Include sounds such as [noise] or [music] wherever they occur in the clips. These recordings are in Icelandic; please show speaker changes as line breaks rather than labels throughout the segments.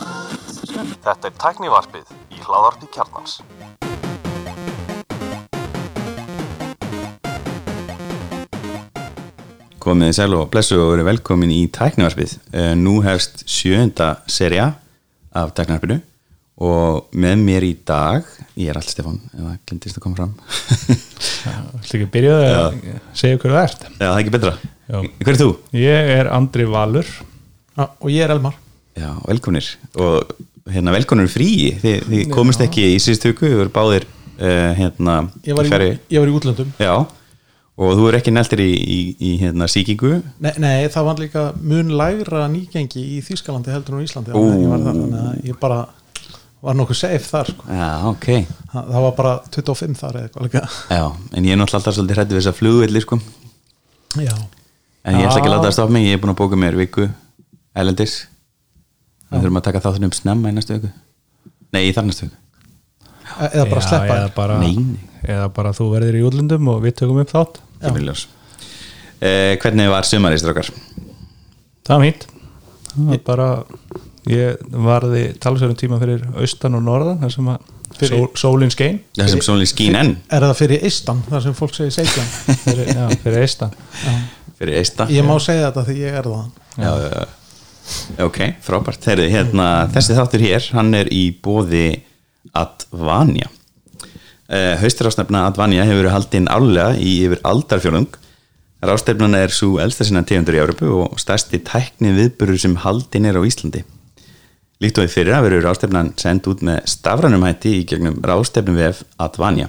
Þetta er tæknivarpið í hláðarpi kjarnans.
Komið þið sæl og blessu og verið velkomin í Tæknivarpið. Eh, Nú hefst sjöunda serja af Tæknivarpinu og með mér í dag, ég er allt Stefán, ef það glindist að koma fram. [laughs]
Þetta ekki að byrja það að segja hver þú ert
Já, það er ekki betra.
Já.
Hver er þú?
Ég er Andri Valur
Já, og ég er Elmar
Já, velkominir. Og hérna velkominir í fríi, þið, þið komist ekki í síðustu hugu, við voru báðir uh, hérna
ég var, í,
fjarri-
ég var í útlöndum
Já, og þú er ekki neltir í, í, í hérna síkingu.
nei, nei, það var líka mun lægra nýgengi í Þýskalandi heldur en á Íslandi á meðan ég var þar, þannig að ég bara var nokkuð safe þar sko.
Já, ok.
það, það var bara 25 þar eða eitthvað líka
Já, en ég er náttúrulega alltaf svolítið hrættu við þessa flugvelli, sko.
já,
En ég ætla ekki að
Já.
Ah.
láta það stoppa mig, ég er búin að bóka mér viku Erlendis Það þurfum að taka þáttunum upp snemma í næstu viku Nei, í þar næstu viku
E- eða bara
Já,
sleppa
eða
þér.
bara,
Nei, nei.
eða bara þú verðir í útlundum og við tökum upp þátt
Ég vil ljós eh, Hvernig var sumarist okkar?
Það er mýtt Það er bara Ég varði talsverðum tíma fyrir austan og norðan þar sem að
Fyrir-
sól, sólin skein
Það sem svolítið skín enn
er það fyrir eistan þar sem fólk segir seikjan
fyrir, já, fyrir eistan
fyrir eista
ég má segja þetta því ég er það
Já, já, já. Ok, frábært Heri, hérna, Þessi þáttur hér, hann er í bóði Advania uh, Haustarásnefna Advania hefur verið haldin álega í yfir aldarfjörung Rástefnan er svo elsta sinna tegundur í Európu og stærsti tækni viðburður sem haldin er á Íslandi Líkt og í fyrra verður rástefnan send út með stafranum hætti í gegnum rástefnum vef Advania.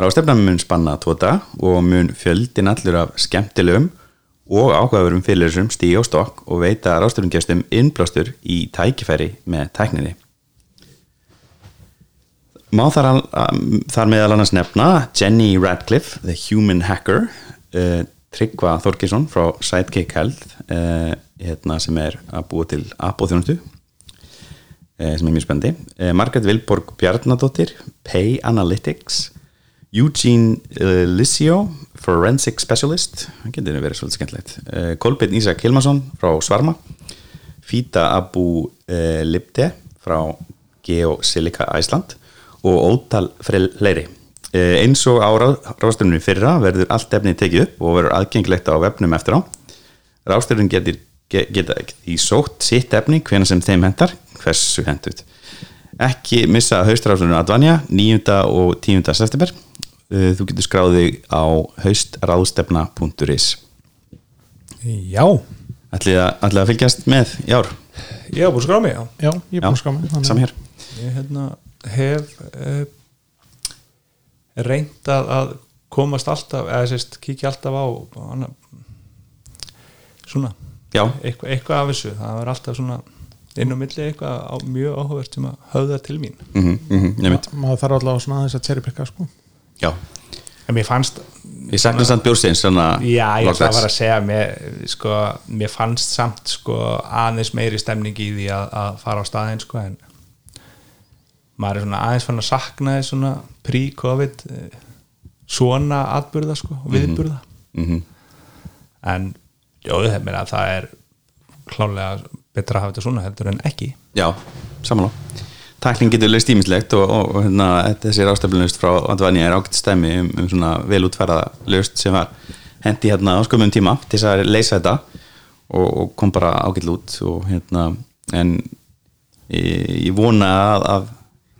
Rástefnan mun spanna tóta og mun fjöldin allur af skemmtilegum og áhugaverum fyrirlesum stíga á stokk og veita rástefnungestum innblástur í tækifæri með tækninni. Má þar, al- am- þar meðal annars nefna Jenny Radcliffe, The Human Hacker, uh, Tryggva Þorkisson frá Sidekick Health uh, hérna, sem er að búa til apoþjónustu eh, sem er mjög spendi eh, Margaret Vilborg Bjarnadóttir Pay Analytics Eugene eh, Lissio Forensic Specialist hann getur verið svolítið skemmtilegt eh, Kolbeinn Ísak Hilmarsson frá Svarma Fita Abu eh, Lipte frá Geosilica Æsland og ótal fleiri eh, eins og á ráðstöfnum fyrra verður allt efni tekið upp og verður aðgengilegt á vefnum eftir á Ráðstöfun getur ge- geta því sótt sitt efni hvena sem þeim hentar, hversu hentut. Ekki missa haustráðstöfunum Advanja 9. og 10. september. Uh, Þú getur skráð þig á haustráðstefna.is.
Já,
Ætlið að, ætlið að fylgjast með í ár?
ég var búin að skrá mig já.
já, ég er búin að skáma
Samhér.
Ég hérna, hef uh, reynt að, að komast alltaf eða sérst, kíkja alltaf á hana, svona
Já,
eitthva, eitthvað af þessu, það var alltaf svona inn á milli eitthvað á, mjög áhugavert sem að höfða til mín
mhm, mhm, nefnt.
maður þarf allavega svona aðeins að cherrypicka sko.
Já.
en mér fannst,
Ég sakna samt bjórsteins svona
já ég ætla að
lognats.
fara að segja mér, sko, mér fannst samt sko, aðeins meiri stemning í því að, að fara á staðinn sko, en maður er svona aðeins fann að sakna þess svona pre-covid eh, svona atburða sko, og viðburða
Mhm.
en jóðu þeim er að það er klálega betra að hafa þetta svona heldur en ekki
Já, samanlá Tækning getur leist ímislegt og, og, og hérna, þetta- þessi rástefnlust frá Andvani er ágætt stæmi um, um svona velútfæraða lust sem var hendi hérna á skömmum tíma til þess að leysa þetta og, og kom bara ágætt út og hérna en ég, ég vona að, að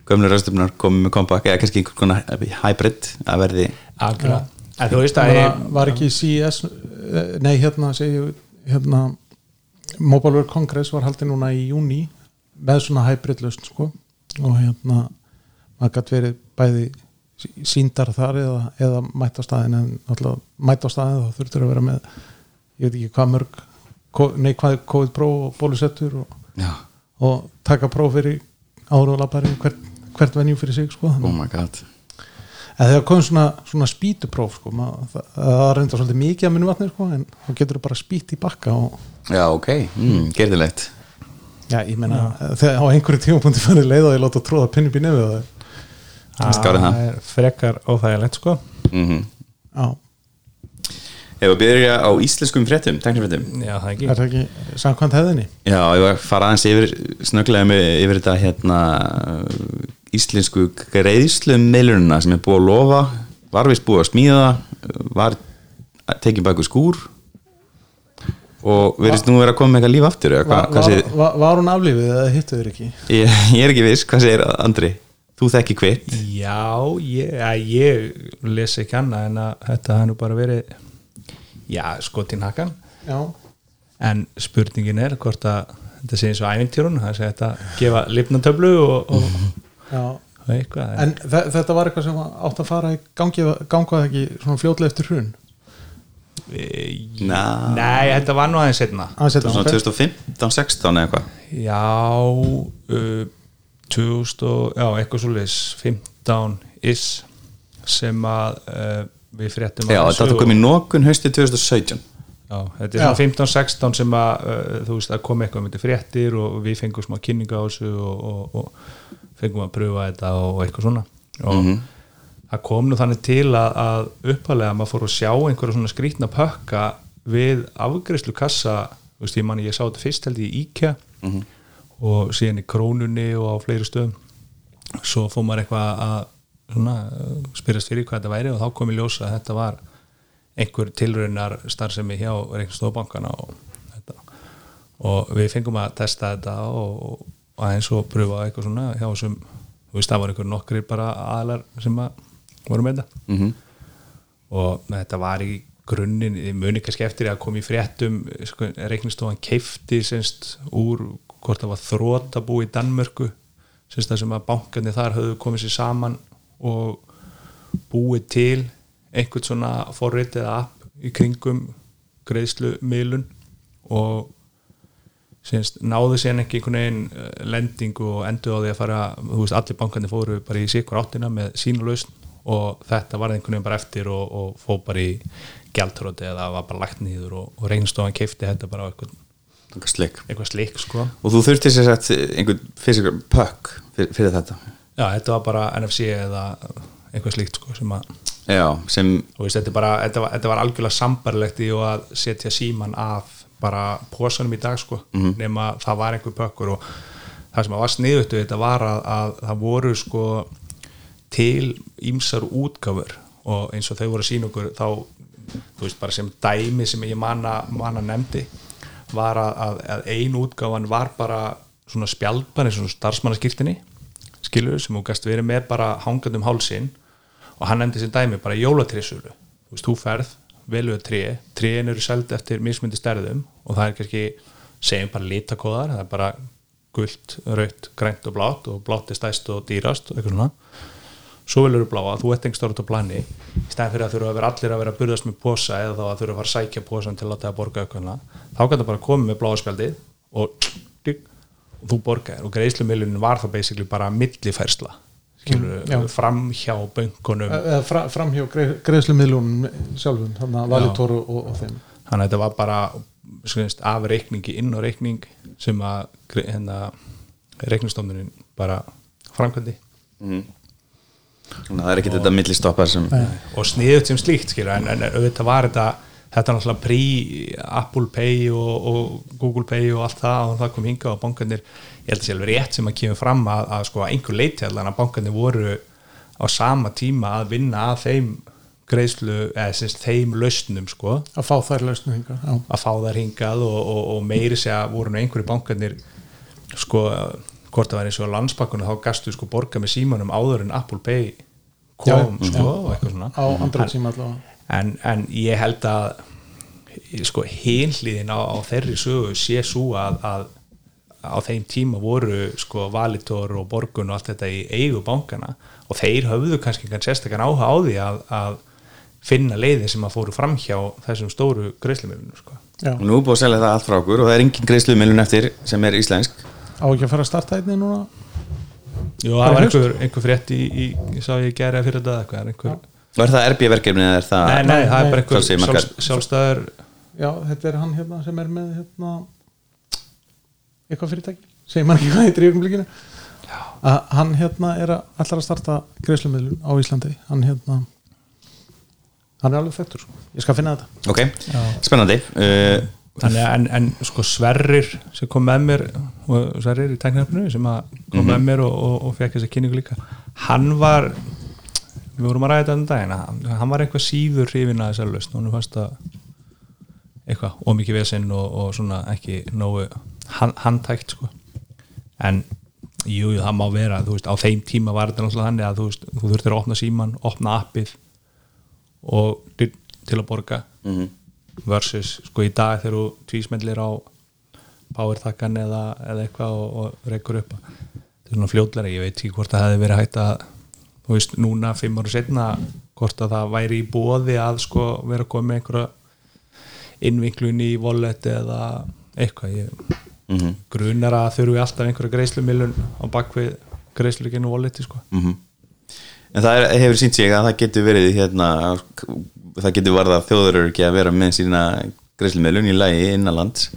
gömlu rástefnar komið með kompakk eða kannski einhvern konar hybrid að verði
Algjörlega En þú veist að
Ég
ég,
meina, var ekki CES eh, nei hérna, segi, ég, hérna Mobile World Congress var haldið núna í júni með svona hybrid lausn sko. og hérna maður gætt verið bæði sí- sýndar þar eða, eða mætt á staðin en alltaf mætt á staðin þá þurftur að vera með ég veit ekki hvað mörg ko- nei hvað COVID próf og bólusettur og,
Já,
og taka próf fyrir ára og lappari hvert, hvert venjú fyrir sig sko. Þannig að-
oh my god
En þegar kom svona, svona spýtupróf sko, maður, það, það reyndar svolítið mikið að minni vatni sko, en þá getur það bara spýtt í bakka og
Já, ok, mm, gerðilegt
já, ég meina, þegar á einhverju tímapunkti farið leið og ég láta tróða pinni upp í nefið á þér.
skárið það. Mhm.
er frekar óþægilegt sko
mm
Já,
Ef að byrja á íslenskum fréttum, teknifréttum
já, það ekki
Er það ekki samkvæmt hefðinni?
Já, ef að fara aðeins yfir snögglega með, yfir þetta hérna uh, íslensku greiðslum meilurina sem er búið að lofa var vist búið að smíða uh, var tekin baku skúr og verðist nú vera að koma með eitthvað líf aftur eða
Var,
hvað, hvað
var,
segir,
var, var hún aflífið eða hittu þér ekki?
ég, ég er ekki viss, hvað segir Andri? Þú þekki hvitt
Já, ég, ja, ég les ekki annað en að þetta hann nú bara verið já, skotin hakan
Já,
en spurningin er hvort að þetta sé eins og ævintýrun það sé þetta gefa lifnatöflu og, og,
já
og eitthvað
En þe þetta var eitthvað sem átt að fara í gangi, ganga það ekki svona fljótlega eftir hrun
e,
Ná,
Nei, þetta var nú aðeins setna
Aðeins
þetta var
þetta
svona
okay.
2015, 16 eða eitthvað
Já uh, 2000 og, já, eitthvað svoleiðis 15 is sem að uh, við fréttum
Já,
af þessu
þetta
og-
kom í nókun hausti 2017
Já, þetta er svona
Já.
15-16 sem að uh, þú veist að kom eitthvað myndi fréttir og við fengum smá kynninga á þessu og, og, og fengum að pröfa þetta og eitthvað svona og það kom nú þannig til að, að uppalega maður fór að sjá einhverja svona skrýtna pökka við afgreyslu kassa þú veist, ég manni ég sá þetta fyrst held ég í IKEA og síðan í krónunni og á fleiri stöðum svo fór maður eitthvað að svona, uh, spyrjast fyrir hvað þetta væri og þá kom í ljósa að þetta var einhver tilraunar starfsemi hjá Reykjavíkstofabankana og, þetta. og við fengum að testa þetta og, og aðeins og pröfa eitthvað svona hjá þessum, þú veist það var einhver nokkri bara aðlar sem að voru með þetta
mm
og þetta var í grunninn, ég muni kannski eftir að koma í fréttum sko, reiknistofan keifti semst úr hvort það var þrótabú í Danmörku semst það sem að bankarnir þar höfðu komið sér saman og búið til einhvern svona forrit eða app í kringum greiðslumiðlun og semst náðu síðan ekki einhvern veginn eh, lendingu og endur á því að fara þú veist, allir bankarnir fóru bara í sikur áttina með sína lausn og þetta var einhvern veginn bara eftir og, og fó bara í gjaldtróti eða var bara lagt nýður og, og reynstofan keifti þetta bara á eitthvað,
Slik
eitthvað slik sko
Og þú þurftir sér sett einhvern fysikar pökk fyrir, fyrir þetta
já, þetta var bara NFC eða eitthvað slíkt sko sem að
Já, sem
og veist, þetta, er bara, þetta, var, þetta var algjörlega sambarlegt í og að setja síman af bara pósanum í dag sko nema það var einhver pökkur og það sem var sniðut við þetta var að, að það voru sko til ýmsar útgáfur og eins og þau voru að sína okkur þá, þú veist, bara sem dæmi sem ég manna, manna nefndi var að, að, að ein útgáfan var bara svona spjaldbæri svona starfsmannaskirtinni skilur sem hún gæst verið með bara hangandi um hálsinn og hann nefndi sem dæmi bara jólatrissölu þú veist, þú ferð, veluðu tré tréin eru seld eftir mismyndi stærðum og það er kannski, segjum bara litakóðar það er bara gult, raut grænt og blátt og blátt er stæst og dýrast og eitthvað svona svo velur þú bláa, þú ert engst orðið á plani í stæðan fyrir að þurfa að vera allir að vera að burðast með posa eða þá að þurfa að fara að sækja posan til að láta það borga aukvöna, þá kanntu bara að koma með bláa spjaldið og, tík, og þú borgaðir og greiðslumiljunin var það basically bara millifærsla skilur,
já.
fram hjá bönkunum
Eða fra, framhjá greiðslumiðlunum sjálfum, þannig að valitor og, og, og þeim
þannig að þetta var bara skriðist, af reikningi inn á reikning sem að gre- hérna, reikningstofnunin bara framkvæmdi
Þannig að það er ekki þetta millistoppar sem
og sniðut sem slíkt skilur, en, en auðvitað var þetta þetta er náttúrulega prí Apple Pay og, og Google Pay og allt það og það kom hinga og bankarnir ég held að sé alveg rétt sem að kemur fram að, að sko að einhver leiti allan að bankarnir voru á sama tíma að vinna að þeim greiðslu, eða sem sagt þeim lausnum sko
að fá þær lausnum hinga Já,
að fá þær hingað og, og, og meiri segja voru nú einhverju bankarnir sko, hvort það var eins og landsbakkuna þá gastu sko borga með símanum áður en Apple Pay kom
Já,
sko og eitthvað svona
á andra tíma allavega
en, en ég held að sko hinliðin á, á þeirri sögu sé svo að, að á þeim tíma voru sko valitor og borgun og allt þetta í eigu bankana og þeir höfðu kannski kannski sérstakann áhuga á því að, að finna leiðin sem að fóru framhjá þessum stóru greiðslumöfunum sko.
Og
Já,
Nú er búið að selja það allt frá okkur og það er engin greiðslu meilun eftir sem er íslensk
á ekki að fara að starta einni núna
Jú, það var einhver, einhver frétt í, í, ég sá ég gerði að fyrir þetta eitthvað er einhver,
Og er það RB verkefni eða er það
nei, nei, það er bara einhver
Sjálfsegir markar.
sjálf, sjálfstæður
Já, þetta er hann hérna sem er með hérna eitthvað fyrirtæki segir maður ekki hvað heitir í augnblikinu að hann hérna er að allar að starta greiðslumiðlun á Íslandi hann hérna hann er alveg þekktur sko. ég skal finna þetta
ok, spennandi uh,
Þannig að en, en sko Sverrir sem kom með mér og Sverrir í tæknarfinu sem að kom með mér og, og, og fekk þessa kynningu líka hann var við vorum að ræða þetta um daginn hann- hann var eitthvað síður hrifin að þessar lausn hún fannst að eitthvað ómikið vesinn og, og svona ekki nógu hann, handtækt sko en jú, jú, það má vera þú veist, á þeim tíma var þetta náttúrulega þannig að þú, veist, þú þurftir að opna síman, opna appið og til, til að borga versus sko í dag þegar þú tvísmellir á powertakkan eða, eða eitthvað og, og reykur upp þetta er svona fljótlega, ég veit ekki hvort það hefði verið hægt að þú veist núna fimm ára setna hvort að það væri í bóði að sko vera að koma með einhverja innvinklun í wallet eða eitthvað ég grunar að þurfi alltaf einhverja greiðslumilun á bakvið greiðslur genið walleti sko
Mhm. en það er, hefur sínt sig að það getur verið hérna, það getur varða þjóðuröryggi að vera með sína greiðslumiðlun í lagi innanlands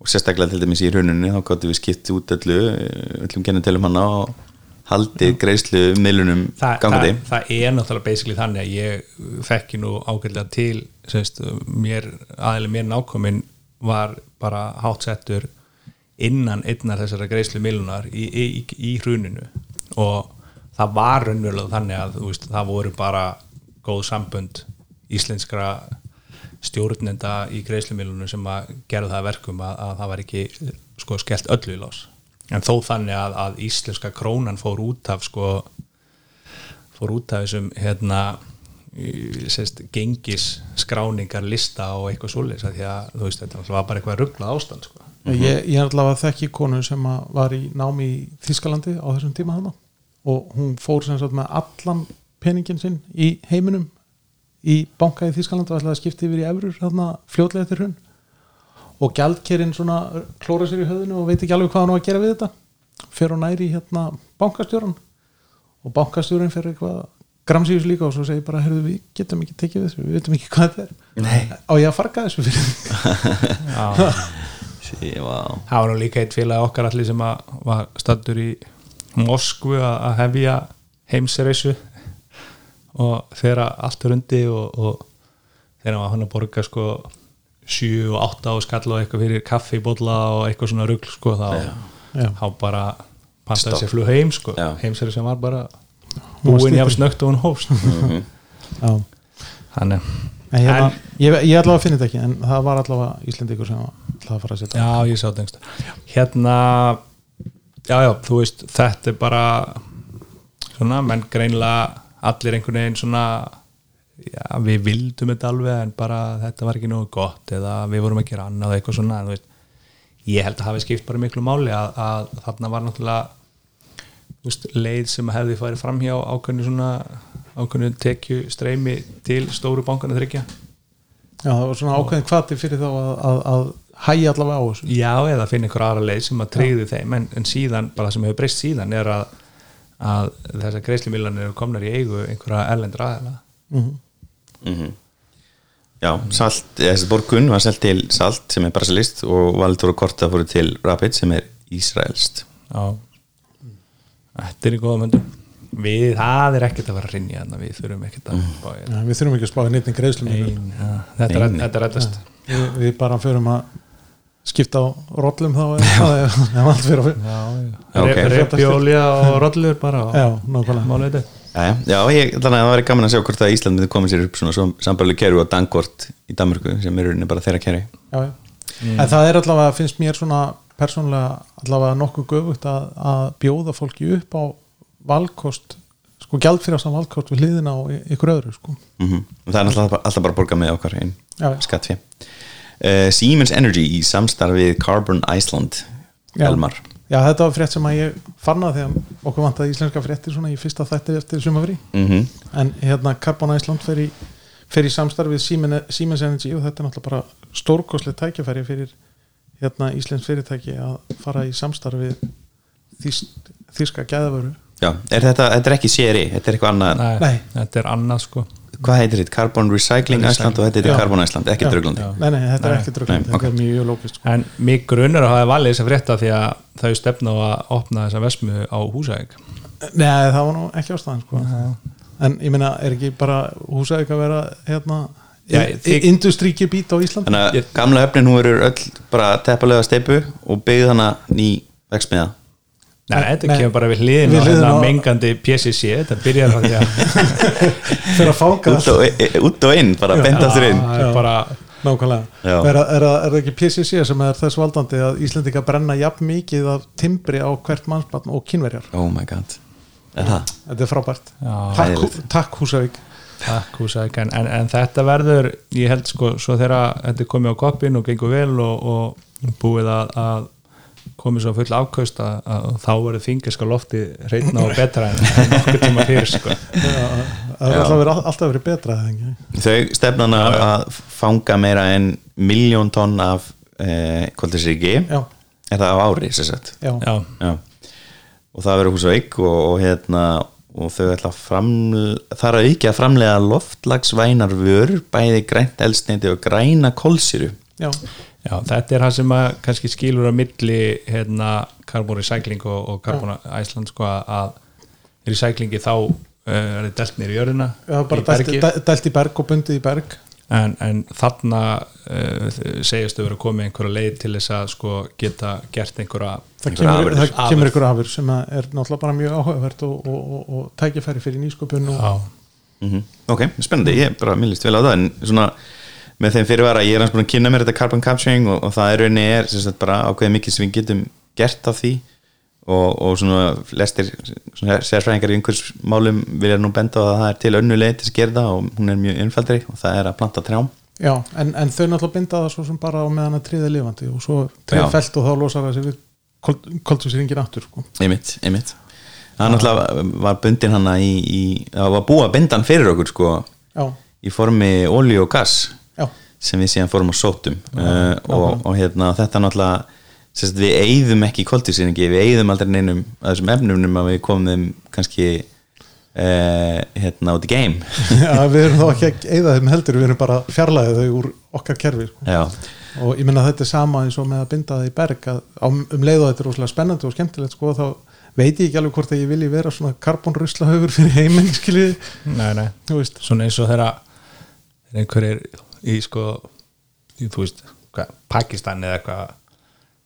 og sérstaklega til dæmis í hrununni þá gáttum við skipt út öllu eh, öllum kennetelum hana og haldið greiðslumiðlunum
Þa, það,
gangandi
það er náttúrulega basically þannig að ég þekki nú ágætlega til semst, mér, aðeins mér nákomin var bara hátsettur innan einnar þessara greiðslu milunar í, í, í, í hruninu og það var raunverulega þannig að þú veist, það voru bara góð sambönd íslenskra stjórnenda í greiðslumilunum sem að gera það að verkum að, að það var ekki sko skellt öllu í lás en þó þannig að, að íslenska krónan fór út af sko fór út af þessum hérna í- sést, gengis skráningar lista og eitthvað svoleiðis af því að þú veist þetta náttúrulega var bara eitthvað ruggla ástand sko.
ég, ég er allavega þekki konu sem að var í námi í Þískalandi á þessum tíma hana og hún fór sem sagt með allan peningin sinn í heiminum í banka í Þískalandi og ætlaði að skipta yfir í efrur þarna fljótlega eftir hrun og gjaldkerinn svona klóra sér í höfðinu og veit ekki alveg hvað hann á að gera við þetta fer hún næri hérna bankastjóran og bankastjórin fer eitthvað gramsýjus líka og svo segir bara herðu við getum ekki tekið við þessu, við veitum ekki hvað þetta er Nei. á ég að farga þessu fyrir þig?"
sí, vá.
það var nú líka eitt félag okkar allir sem að var stattur í Moskvu að að hefja heimsreisu og þegar allt er undi og, og þegar var hann að borga sko 7 og 8 á skall og eitthvað fyrir kaffi, bolla og eitthvað svona rugl sko þá,
Já.
þá bara
Stopp.
pantaði sér flug heim sko
Já.
heimsreisu var bara
Hún var
búin
styttri.
jafn snögt og hún hófst
Já.
sko. þannig
En hérna,
En-
ég, ég allavega finn þetta ekki en það var allavega Íslendingur sem ætlaði að fara að setja
já ég sá tengst hérna já já þú veist þetta er bara svona menn greinlega allir einhvern veginn svona já við vildum þetta alveg en bara þetta var ekki nógu gott eða við vorum ekki annað eða eitthvað svona en þú veist ég held að hafi skipt bara miklu máli að, að þarna var náttúrulega þú veist, leið sem hefði farið framhjá ákveðinu svona ákveðinu tekju streymi til stóru bankana þryggja
Já, það var svona ákveðin hvati fyrir þá að, að, að hæja allavega á þessu
Já, eða finna einhver aðra leið sem að treyði þeim en, en síðan, bara það sem hefur breyst síðan er að, að þessar greiðslumílanir eru komnar í eigu einhverja erlendra aðeila
Mhm. Já, salt, eh, þessi borgun var selt til Salt sem er brasilist og Valdur og Korta fóru til Rapid sem er Ísraelst
Já Þetta er í góða möndu Við, það er ekkert að vera að rinja þannig við þurfum ekkert að mm. bája
Já, Við þurfum ekki að spáði neitt í greiðslum við,
Þetta er
Nei, nei.
þetta er reddast
við bara förum að skipta á rollum þá eða ef ef allt fyrir að fyrir
Já, já,
Já, ok.
Rep- repjólja og rollur bara og
Já, nákvæmlega
málið þetta
Jæja, Já, ég, þannig að það væri gaman að sjá hvort að Ísland myndi komið sér upp svona sambarlega kerfi og Dankort í Danmörku sem eru bara þeirra kerfi
já, já. En það er allavega, finnst mér svona persónulega allavega nokkuð göfugt að, að bjóða fólki upp á valkost sko gjaldfyrirasta valkost við hliðina á y- ykkur öðru sko
mm og það er alltaf, alltaf bara að borga með okkar einn
Já, já.
skattfé uh, Siemens Energy í samstarfið Carbon Iceland
Já.
Elmar
Já, þetta var frétt sem að ég farnaði þegar okkur vantaði íslenska fréttir svona í fyrsta þætti eftir sumafrí
mm
en hérna Carbon Iceland fer í, fer í samstarfið Siemens Siemens Energy og þetta er náttúrulega bara stórkoslega tækifæri fyrir hérna íslensk fyrirtæki að fara í samstarfið þís, þíska gæðavöru
Já, er þetta, þetta er ekki séri, þetta er eitthvað annað
Nei,
Nei.
Þetta er annað sko
Hvað heitir þetta? Carbon Recycling Iceland og þetta heitir
Já.
Carbon Iceland, ekki
Já.
drauglandi
Nei, nei, þetta
Nei.
er ekki druglandi,
Nei,
þetta er mjög lókist sko.
En mig grunar að hafa valið þess að frétta því að þau stefna á að opna þessa vesmu á húsæk
Nei, það var nú ekki ástæðan sko. en ég meina er ekki bara húsæk að vera hérna
Já,
í-
þig-
í- industríkibít á Íslandi
Þannig að
Ég-
gamla höfnin hún verður öll bara teppalega steipu og byggð hana ný veksmiða
Nei, þetta
Nei.
kemur bara við hliðin
Við
og
hliðina
hérna
á-
mengandi PCC, þetta byrjar á því að
[laughs] fyrir að fáka
út, og- e- e- út og inn, bara bent aftur inn
það er bara
nákvæmlega
Já.
er, það- er, það- er það ekki PCC sem er þess valdandi að Íslandinga brenna jafn mikið af timbri á hvert mannsbarn og kynverjar
Oh my god Er það?
þetta er frábært
Já.
takk,
Hræðilegt.
takk Húsavík
takk húsæk en, en, en þetta verður, ég held sko svo þegar þetta er komið á koppin og gengur vel og, og búið að, að komið svo full afkaust að, að þá verður fingerska lofti reyna og betra en en nokkuð tíma fyrir sko.
[laughs] það er alltaf verið, alltaf verið betra eða ekki?
Þau stefnana að fanga meira en miljón tonn af e, koldisíki
já,
er það á ári, sér sagt
já,
Já,
Já. og það verður Húsavík og, og hérna og þau ætla að framlega þar að ekki að framlega loftlagsvænar vörur bæði grænt elsniti og græna kolsýru
já,
já, þetta er það sem að kannski skilur á milli hérna Carbon Recycling og, og Carbon Iceland sko að- að recyclingi þá uh, er þetta delt nýr í jörðina
já bara
í
dælt,
bergi.
dælt, dælt í berg og bundið í berg
en, en þarna uh, segjast þau verið að koma með einhverja leið til þess að sko geta gert einhverja
það
Einhverjar
kemur,
afurðir.
það kemur ykkur afur sem að er náttúrulega bara mjög áhugavert og, og, og, og tækifæri fyrir nýsköpun og,
á,
mm ok, spennandi, ég bara millist vel á það en svona með þeim fyrirvara ég er hans búin að kynna mér þetta carbon capturing og, og það er rauninni er sem sagt bara ákveðið mikið sem við getum gert af því og, og svona lestir svona sérfræðingar í einhvers málum vilja nú benda á að það er til önnu leið til að gera það og hún er mjög innfaldri og það er að planta trjám
já, en, en þau náttúrulega binda það svo sem bara á meðan að tríða lifandi og svo tríða
Já.
felt og þá losar það sig við koltusýringin aftur sko.
einmitt, einmitt hann náttúrulega var bundin hana í, í það var búið að binda hann fyrir okkur sko
já,
í formi olíu og gass
já,
sem við síðan fórum og sóttum uh, og, og hérna þetta náttúrulega sem sagt, við eigðum ekki koltísýringi við eigðum aldrei neinum að þessum efnum nema við komum þeim kannski uh, hérna út í game
já, við erum þá ekki að eyða þeim heldur við erum bara að fjarlæða þau úr okkar kerfi sko.
[laughs] já,
og ég minna þetta er sama eins og með að binda það í berg að á, um leið og þetta er rosalega spennandi og skemmtilegt sko þá veit ég ekki alveg hvort að ég vilji vera svona karbonruslahaugur fyrir heiminn [laughs] skiljið,
nei, nei,
þú veist
svona eins og þeirra þegar einhverjir í sko í, þú veist, hvað, Pakistan eða eitthvað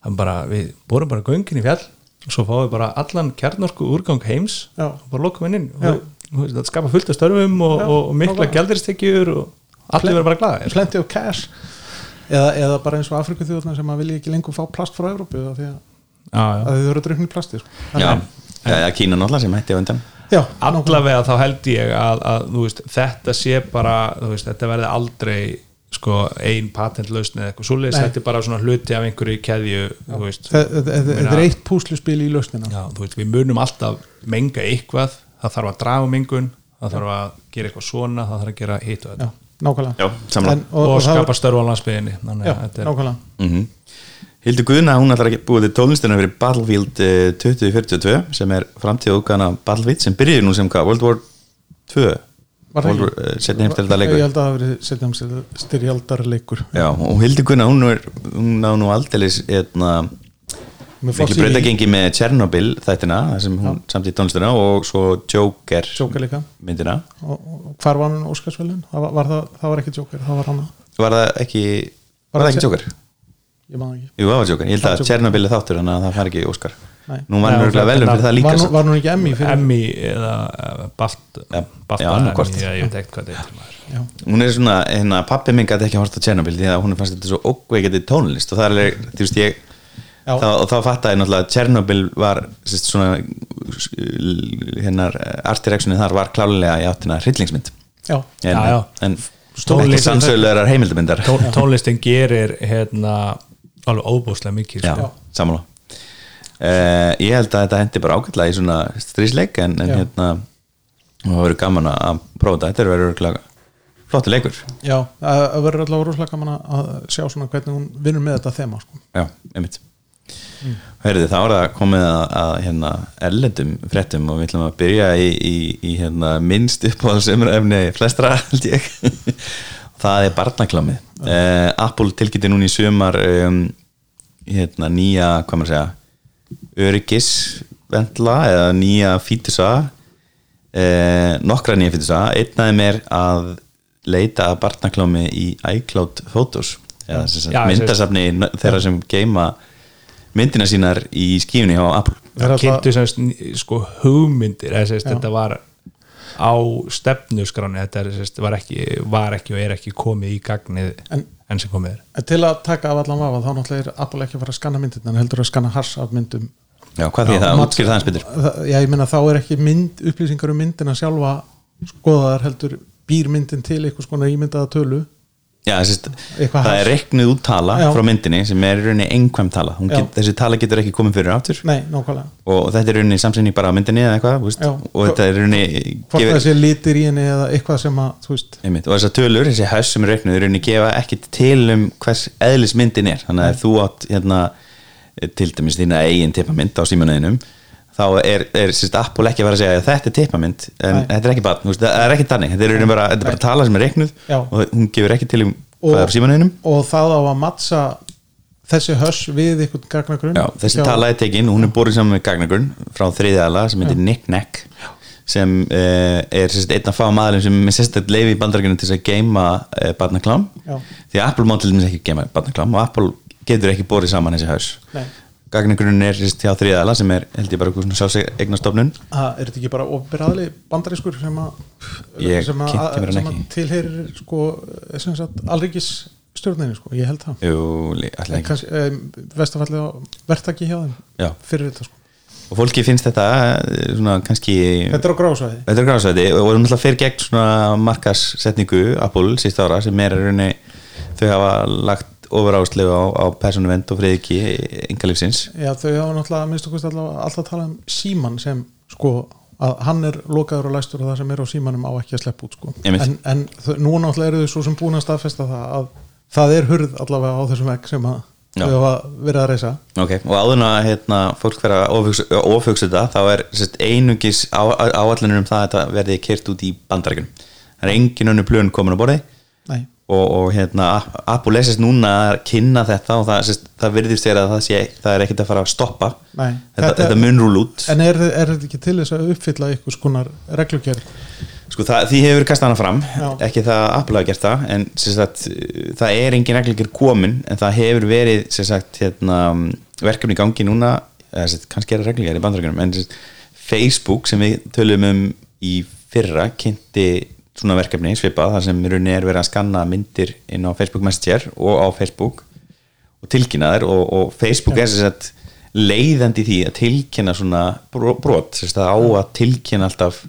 hann bara, við borum bara göngin í fjall og svo fáum við bara allan kjarnorku úrgang heims
Já.
og bara lokum henni inn
Já.
og, þú veist, það skapa fullt af störfum og,
Já,
og, og mikla
nákvæmlega.
gældirstekjur og allir verður bara glaðir
plenty of cash eða, eða bara eins og Afrikuþjóðna sem að vilja ekki lengur fá plast frá Evrópu af því að,
Já, já.
að þau eru drukni plastir
já, eða Kína náttúrulega sem hætti á undan
sko. já, nákvæmlega.
allavega þá held ég að, að þú veist, þetta sé bara þú veist, þetta verði aldrei sko, ein patentlausn eða eitthvað svoleiðis
Nei.
þetta er bara svona hluti af einhverju keðju þú veist,
Þe- þe- þe- þetta er eitt púsluspil í lausnina
já, þú veist, við munum alltaf menga eitthvað, það þarf að draga mengun það þarf að gera eitthvað svona það þarf að gera hitt og
já,
þetta
nákvæmlega
Já, sammála.
En-
og,
það-
skapa störf á landsbyðinni þannig
já,
að þetta er
nákvæmlega
mm Hildur Guðna, hún ætlar að búið til tónlistina fyrir Battlefield eh, 2042 sem er framtíðaúkana Battlefield sem byrjuði nú sem hvað, World War 2
Var það
World War,
ekki?
eh, seinni heimsstyrjaldarleikur.
ég held að það hafi verið setjum styrjaldarleikur
Já, og Hildur Guðna, hún, er, hún ná nú aldeilis hérna,
Með
miklu
Foxy
breytagengi með Tjernobyl þættina, þar sem hún samt í tónlistina og svo Joker
Joker líka.
myndina
og, og hvar var hann Óskarsvelun? Það var, var það, það var ekki Joker, það var hann
Var það ekki, var það ekki Joker?
ég man það ekki
Jú, það var Joker, ég held
Það var
að
Joker.
Tjernobyl er þáttur en að það fær ekki Óskar
Nei.
Nú var
Nei,
hann örgulega
ok,
velum
en
fyrir það líka sko.
var, nú,
samt.
var nú ekki Emmy fyrir
Emmy eða eh, Baft
Já,
Baft
já, annaðhvort.
já, ég veit ekkert hvað þetta er maður
já,
hún er svona, hérna, pappi minn gæti ekki að horta Tjernobyl því að hún fannst þetta svo ókveikandi tónlist og það er alveg, þú veist ég
Já.
þá, og þá fattaði ég náttúrulega að Tjernobyl var sérst, svona hennar artireksunni þar var klálega í áttina hryllingsmynd
já,
en,
Já, já.
en
Tónlist-
ekki sannsögulegar heimildamindar
Tón, tónlistin gerir hérna alveg óbúslega mikið
já,
sko.
sammála uh, ég held að þetta hendi bara ágætlega í svona strísleik en, en
Já.
hérna það verður gaman að prófa þetta þetta verður örugglega flottur leikur
já það það verður allavega rosalega gaman að- að sjá svona hvernig hún vinnur með þetta þema sko.
Já, einmitt Hörðu, þá er það komið að, að hérna, erlendum fréttum og við ætlum að byrja í, í, í hérna, minnst upp á sömurefni flestra held ég [laughs] það er barnaklámið uh, Apple tilkynnti núna í sömar um, hérna, nýja hvað maður að segja öryggisvendla eða nýja fítusa eh, nokkra nýja fyrir þess að einnaði mér að leita að barnaklámi í iCloud Photos eða sem sagt
Já, sem-
myndasafni nö- þeirra sem geima myndina sínar í skífunni hjá Apple
Það er
það
alltaf-
kynntu semst ný- sko hugmyndir eða semst þetta var á stefnusgráni þetta er, semst, var, ekki, var ekki og er ekki komið í gagnið
En-
enn sem komið er
En til að taka af allan vafa þá náttúrulega er Apple ekki að fara að skanna myndin en heldur að skanna hars af myndum
Já, hvað því það útskýr það eins betur
Það- Já, ég meina þá er ekki mynd, upplýsingar um myndina sjálfa skoðaðar heldur býr myndin til einhvers konar ímyndaða tölu
Já, sérst,
Eitthvað
það
hass.
er reiknuð út tala
Já.
frá myndinni sem er í rauninni einhverjum tala Hún get,
Já.
þessi tala getur ekki komið fyrir aftur
Nei, nákvæmlega
og þetta er í rauninni samsynning bara á myndinni eða eitthvað, þú veist,
Já.
og þetta er í rauninni
Hvort
gefur-
það sé litir í henni eða eitthvað sem að, þú veist
Einmitt, og þessar tölur, þessi höss sem er reiknuð í rauninni gefa ekki til um hvers eðlis myndin er þannig að ef þú átt hérna, til dæmis þína eigin tippamynd á símanuðinum þá er, er sérst Apple ekki að vera að segja að þetta er tippamynd en
Nei.
þetta er ekki bara, veist, það er ekki þannig þetta er, í rauninni bara, þetta er bara tala sem er reiknuð
Já.
og hún gefur ekki til um hvað er á símanuðinum
og það á að matsa þessi höss við einhvern gagnagrunn
Já, þessi tala er tekin, hún er borin saman með gagnagrunn frá þriðjala sem heitir Nick Nack sem uh, er sérst, einn af fá maðurum sem er sérstætt leifi í bandarækjunum til þess að geima uh, barnaklám
Já.
því að Apple má til dæmis ekki geima barnaklám og Apple getur ekki borið saman þessi haus
Nei.
gagnagrunn er sérst hjá þriðjala sem er held ég bara eitthvað svona sásegnastofnun
Það er þetta ekki bara ofberaðli bandarískur sem að
Ég
sem að,
kynnti mér hann
sem að
ekki.
tilherir sko, sem sagt, alríkis stjórninni sko, ég held það
Jú, li- ætli ekki.
Kansk, um, vestafallið á verktaki hjá þeim
Já.
fyrir þetta sko
og fólki finnst þetta eh, svona kannski
Þetta er á gráðsvæði
Þetta er gráðsvæti og vorum alltaf fyrir gegn svona markasetningu Apple síst ára sem er í rauninni þau hafa lagt ofuráslega á, á persónuvend og friðiki engalífsins
Já, þau hafa náttúrulega að minnstu kosti allavega alltaf að tala um síman sem sko að hann er lokaður og læstur og það sem er á símanum á ekki að sleppa út sko
Einmitt.
en, en þau- nú náttúrulega eru þau svo sem búin að staðfesta það að það er hurð allavega á þessum vegg sem að
Já.
þau hafa verið að reysa
okay. og áðurna hérna, fólk vera ofugsa þetta þá er sérst, einungis á, áallanur um það að þetta verði kert út í bandarækjunum það er engin önnu plön komin á borði
Nei,
og, og hérna Apple er sérst núna að kynna þetta og það, sérst, það virðist vera að það, sé, það er ekkert að fara að stoppa
Nei.
þetta,
Þetta-
þetta mun rúl út
en er, er þetta ekki til þess að uppfylla einhvers konar reglugjörð
Sko það, því hefur verið kastað hana fram
Já.
ekki það að Apple hafa gert það en sem sagt, uh, það er engin reglíkir komin en það hefur verið sem sagt, hérna, um, verkefni í gangi núna eða, sem sagt, kannski er það reglíkir í bandarækjunum en sem sagt, Facebook sem við tölum um í fyrra kynnti svona verkefni svipað þar sem í rauninni er verið að skanna myndir inn á Facebook Messenger og á Facebook og tilkynna þær og, og Facebook er sem sagt leiðandi í því að tilkynna svona bro- brot, sem sagt, það á að tilkynna alltaf,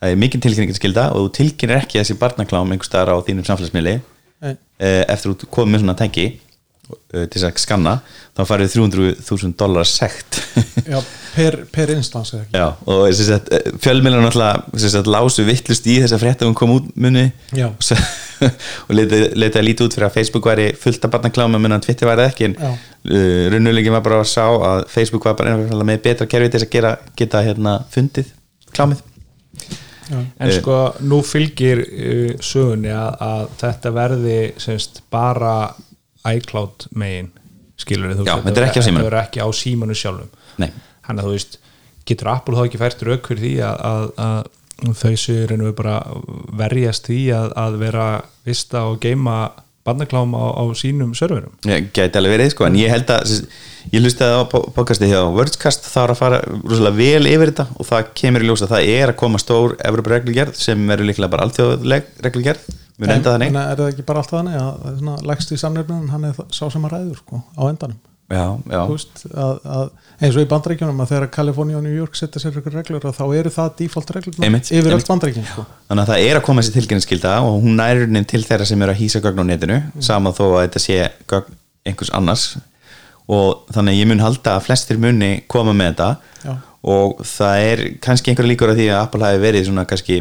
það er mikil tilkynningarskylda og þú tilkynnir ekki þessi barnaklám einhvers staðar á þínum samfélagsmiðli
Nei.
eh, eftir að þú komið með svona tæki eh, til þess að skanna, þá farið 300.000 dólar sekt
Já, per, per instans eða ekki
Já, og sem sagt, eh, fjölmiðlar náttúrulega sem sagt, lásu vittlust í þess að frétta hún kom út munni
Já.
og, s- [laughs] og leitaði leita lítið út fyrir að Facebook væri fullt af barnakláma menn að Twitter væri það ekki en
Já.
uh, raunulingin var bara að sá að Facebook var bara einfallega með betra kerfi til þess að gera, geta hérna, fundið klámið
Já.
Eh.
en sko nú fylgir uh, sögunni að, að þetta verði semst bara iCloud megin skilur
Já, þetta er ekki á símanum.
þetta er ekki á símanu sjálfum
Nei.
þannig að þú veist getur Apple þá ekki fært rauk fyrir því að, að, að þau séu reynum við bara verjast því að, að vera vista og geima barnaklám á, á sínum
[laughs]
serverum
Ég gæti alveg verið sko, en ég held að sem sagt, ég hlustaði á po- podcastið hjá Wordscast það er að fara rosalega vel yfir þetta og það kemur í ljós að það er að koma stór Evropa reglugerð sem verður líklega bara alltjóðleg reglugerð, mun enda þannig
Þannig að er það ekki bara alltaf þannig að það er svona, lægst í samnefnum hann er það- sá sem að ræður sko, á endanum
Já, já,
Þú veist, að, að eins og í bandaríkjunum að þegar Kaliforníu og New York setja sér ykkur reglur að þá eru það default reglur
Einmitt,
yfir
einmitt.
allt bandaríkjun sko.
þannig að það er að koma þessi tilkynningsskylda og hún nærurinn til þeirra sem eru að hýsa gögn á netinu sama þó að þetta sé gögn einhvers annars og þannig að ég mun halda að flestir munni koma með þetta
Já.
og það er kannski einhverja líkur að því að Apple hafi verið svona kannski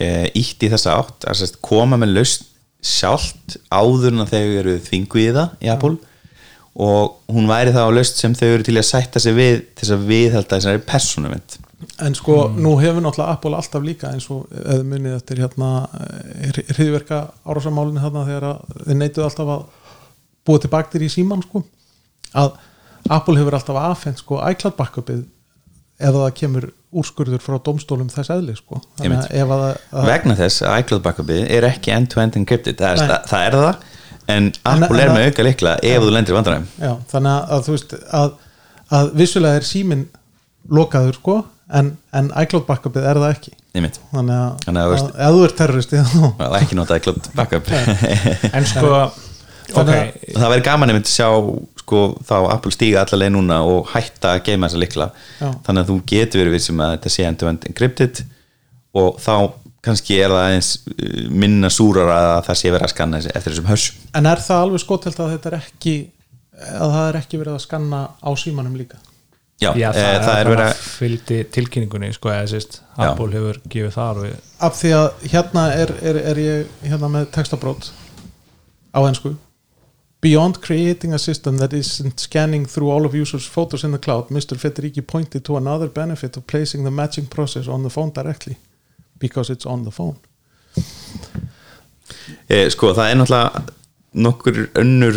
e, ítt í þessa átt að sérst, koma með laust sjálft áður en að þau eru þvingu í það í Apple og hún væri þá laust sem þau eru til að sætta sig við til þess að viðhalda þessari persónumind
en sko
Mm.
nú hefur náttúrulega Apple alltaf líka eins og eða munið eftir hérna hriðverka árásamálinu þarna þegar að þeir neituðu alltaf að búa til baktir í síman sko að Apple hefur alltaf afhengt sko iCloud backupið ef það kemur úrskurður frá dómstólum þess eðli sko. þannig að ef að, að
vegna þess að iCloud backupið er ekki end-to-end encrypted, það
Nei.
er, það, það er það en Apple
en
er með
að-
auka líkla ef þú lendir í vandræðum
já, þannig að, að þú veist að, að vissulega er síminn lokaður sko en, en iCloud backupið er það ekki
einmitt,
þannig að,
Þannig að þú veist-
ef þú ert terroristi þá
það er ekki notað iCloud backup
en sko ok,
Þannig að-
[laughs] það verður gaman einmitt að sjá sko, þá Apple stíga allaleg núna og hætta að geima þessa líkla
Já.
þannig að þú getur verið vissum að þetta sé end-to-end encrypted og þá kannski er það eins uh, minna súrar að það sé verið að skanna þessi- eftir þessum hörsum
en er það alveg skotelt að þetta er ekki að það er ekki verið að skanna á símanum líka
Já,
já,
það, eh, það er verið að
fylgdi tilkynningunni sko, eða sérst,
Já.
Apple hefur gefið þar og ég-
af því að hérna er, er, er ég hérna með textabrót á ennsku Beyond creating a system that isn't scanning through all of users' photos in the cloud, Mr. Federici pointed to another benefit of placing the matching process on the phone directly because it's on the phone.
Eh, sko, það er náttúrulega nokkur önnur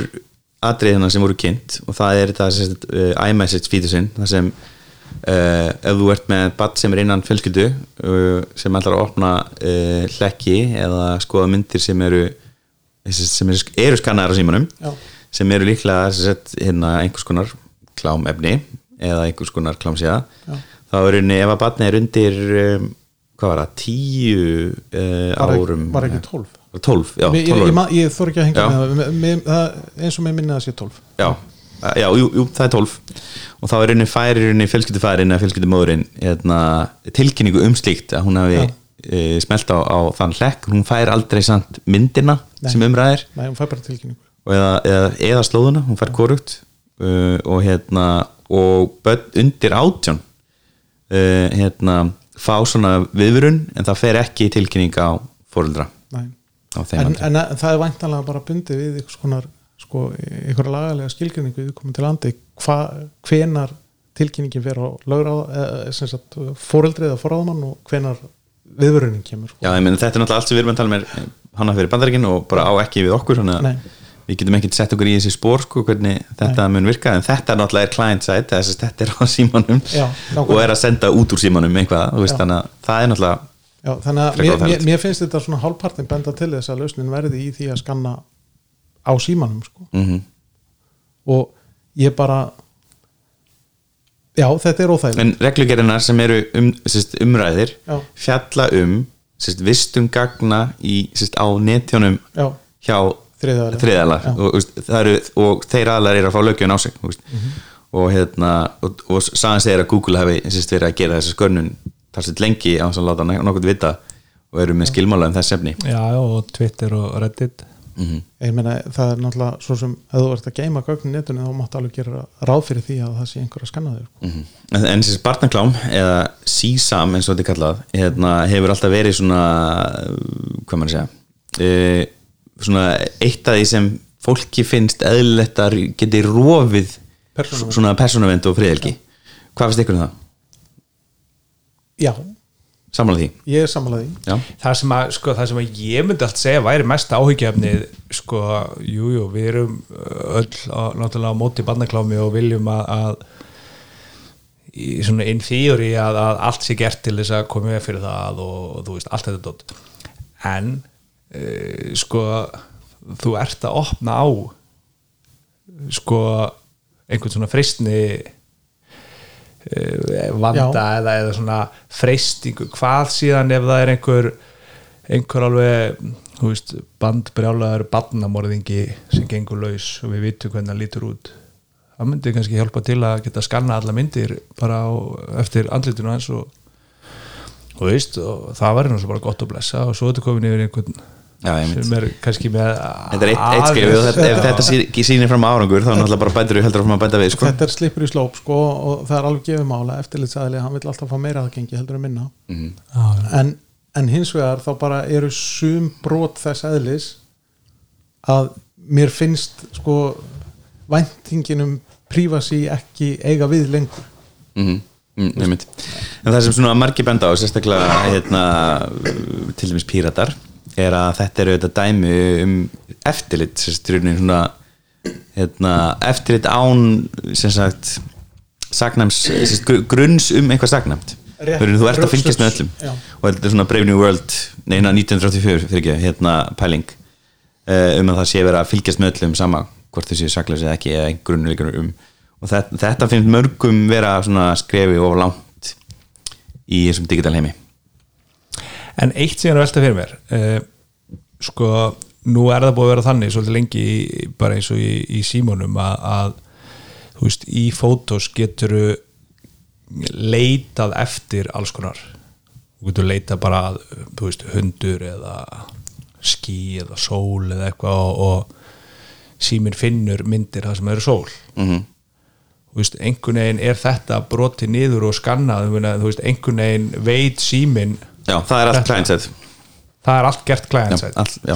atriðina sem voru kynnt og það er þetta sérst, uh, iMessage featureinn það sem uh, ef þú ert með badd sem er innan fjölskyldu uh, sem ætlar að opna uh, hlekki eða skoða myndir sem eru sem eru, eru skannaðar á símanum
Já.
sem eru líklega sérst, hérna, einhvers konar klámefni eða einhvers konar klámsíða þá er unni ef að badni er undir um, hvað var það, tíu uh,
Var ekki-
árum
var ekki 12?
12, já, 12
Mér- ég, ég,
árum
ma- ég þor ekki að hengja
Já.
með það, mér- mér- það, eins og mér minni að sé 12.
já, Eh, já jú, jú, það er 12 og þá er rauninni færi rauninni fjölskyldufærin eða fjölskyldumóðurinn hérna, tilkynningu um slíkt að hún hafi
Já.
e, smelt á, á þann hlekk hún fær aldrei samt myndina sem umræðir
Nei, hún fær bara tilkynningu.
og eða, eða, eða slóðuna, hún fær korugt uh, og hérna og börn undir átjón uh, hérna fá svona viðvörun en það fer ekki tilkynning á fóruldra
Nei.
á þeim
En,
aldri.
en að- það er væntanlega bara bundið við einhvers konar sko, einhverja lagalega skilgrinningu við komum til landi, hva, hvenar tilkynningin fer á lögráð eh, sem sagt fóreldrið eða foráðmann og hvenar viðvörunin kemur sko.
Já, ég meina þetta er náttúrulega allt sem við erum að tala með hana fyrir bandaríkin og bara á ekki við okkur þannig
Nei.
að við getum ekkert sett okkur í þessi spór sko hvernig þetta mun virka en þetta er náttúrulega er client side þess að þetta er á símanum
Já, nákvæmlega.
og er að senda út úr símanum eitthvað, þú veist
Já.
þannig að það er náttúrulega
Já, þannig
Frekar
að mér,
óþægilegt.
mér, mér finnst þetta svona hálfpartin benda til þess að lausnin verði í því að skanna á símanum sko.
mm
og ég bara já, þetta er óþægilegt
en reglugerðinar sem eru um, sérst, umræðir
Já.
fjalla um sérst, vistum gagna í, sérst, á netjónum
Já.
hjá
Þriðja aðila.
þriðalar
Já.
og, þú veist, það eru, og þeir aðlar eru að fá lögjöfn á sig mm
Mhm.
-hmm. og hérna og, og sagan segir að Google hafi sérst, verið að gera þessa skörnun talsett lengi á þess að láta nek- nokkurt vita og eru með skilmála um þess efni
já, já, og Twitter og Reddit
ég meina það er náttúrulega svo sem ef þú ert að geima gögnin netunni þá máttu alveg gera ráð fyrir því að það sé einhver að skanna sko. þér
Mhm. En en þessi barnaklám eða sísam eins og þetta er kallað hérna, hefur alltaf verið svona uh, hvað maður að segja e, svona eitt af því sem fólki finnst eðlilegt að geti rofið
Persónuvernd.
svona persónavend og friðelgi hvað finnst ykkur um það?
já,
Samanlega því?
ég er samanlega því
Já,
það sem, að, sko, það sem að ég myndi allt segja væri mest áhyggjafnið sko, jújú, jú, við erum öll á, náttúrulega á móti barnaklámi og viljum að, að í svona in theory að, að allt sé gert til þess að koma við fyrir það og, og þú veist, allt þetta dótt en e, sko þú ert að opna á sko einhvern svona freistni eh, vanda eða, eða svona freistingu hvað síðan ef það er einhver einhver alveg þú veist, bandbrjálaður barnamorðingi sem gengur laus og við vitum hvernig hann lítur út það myndi kannski hjálpa til að geta skanna alla myndir bara á, eftir andlitinu hans og, og veist og það var nú svo bara gott að blessa og svo þetta komin yfir einhvern
já ég mynd
sem er kannski með
Þetta er eitt,
Ah,
eitt skrif og þetta, ef þetta sýnir- sýnir fram árangur þá náttúrulega bara bætur við heldur áfram að bæta við sko.
þetta er slipur í slóp sko og það er alveg gefið mála eftirlitsæðilega, hann vil alltaf fá meira aðgengi heldur en minna en, en hins vegar þá bara eru sum brot þess eðlis að mér finnst sko væntinginum prífasi ekki eiga við lengur
mm -hmm. mm, en það sem svona margir benda á sérstaklega hérna, til dæmis píratar er að þetta eru þetta dæmi um eftirlit sérstaklega svona hérna, eftirlit án sem sagt sagnæms, sem sagt, gr- grunns um eitthvað sagnæmt
Rétt.
Fyrir, þú ert að fylgjast með öllum
Rökstuds, já.
og þetta er svona Brave New World hérna, neina 1984 fyrir ekki, hérna pæling eh, um að það sé verið að fylgjast með öllum sama hvort þau séu saklaus eða ekki eða einhverjum líkur um og þetta, þetta finnst mörgum vera svona skrefi of langt í þessum digital heimi
En eitt sem er að velta fyrir mér uh, sko, nú er það búið að vera þannig svolítið lengi í, bara eins og í, í símónum að, að þú veist, í fótos getur leitað eftir alls konar þú getur leitað bara að þú veist, hundur eða ský eða sól eða eitthvað og, og síminn finnur myndir það sem eru sól
mhm
þú veist, einhvern veginn er þetta brotið niður og skannað, þú veist, þú veist, einhvern veginn veit síminn
Já, það er allt
Þetta-
client set
það er allt gert client
já,
side
all, já.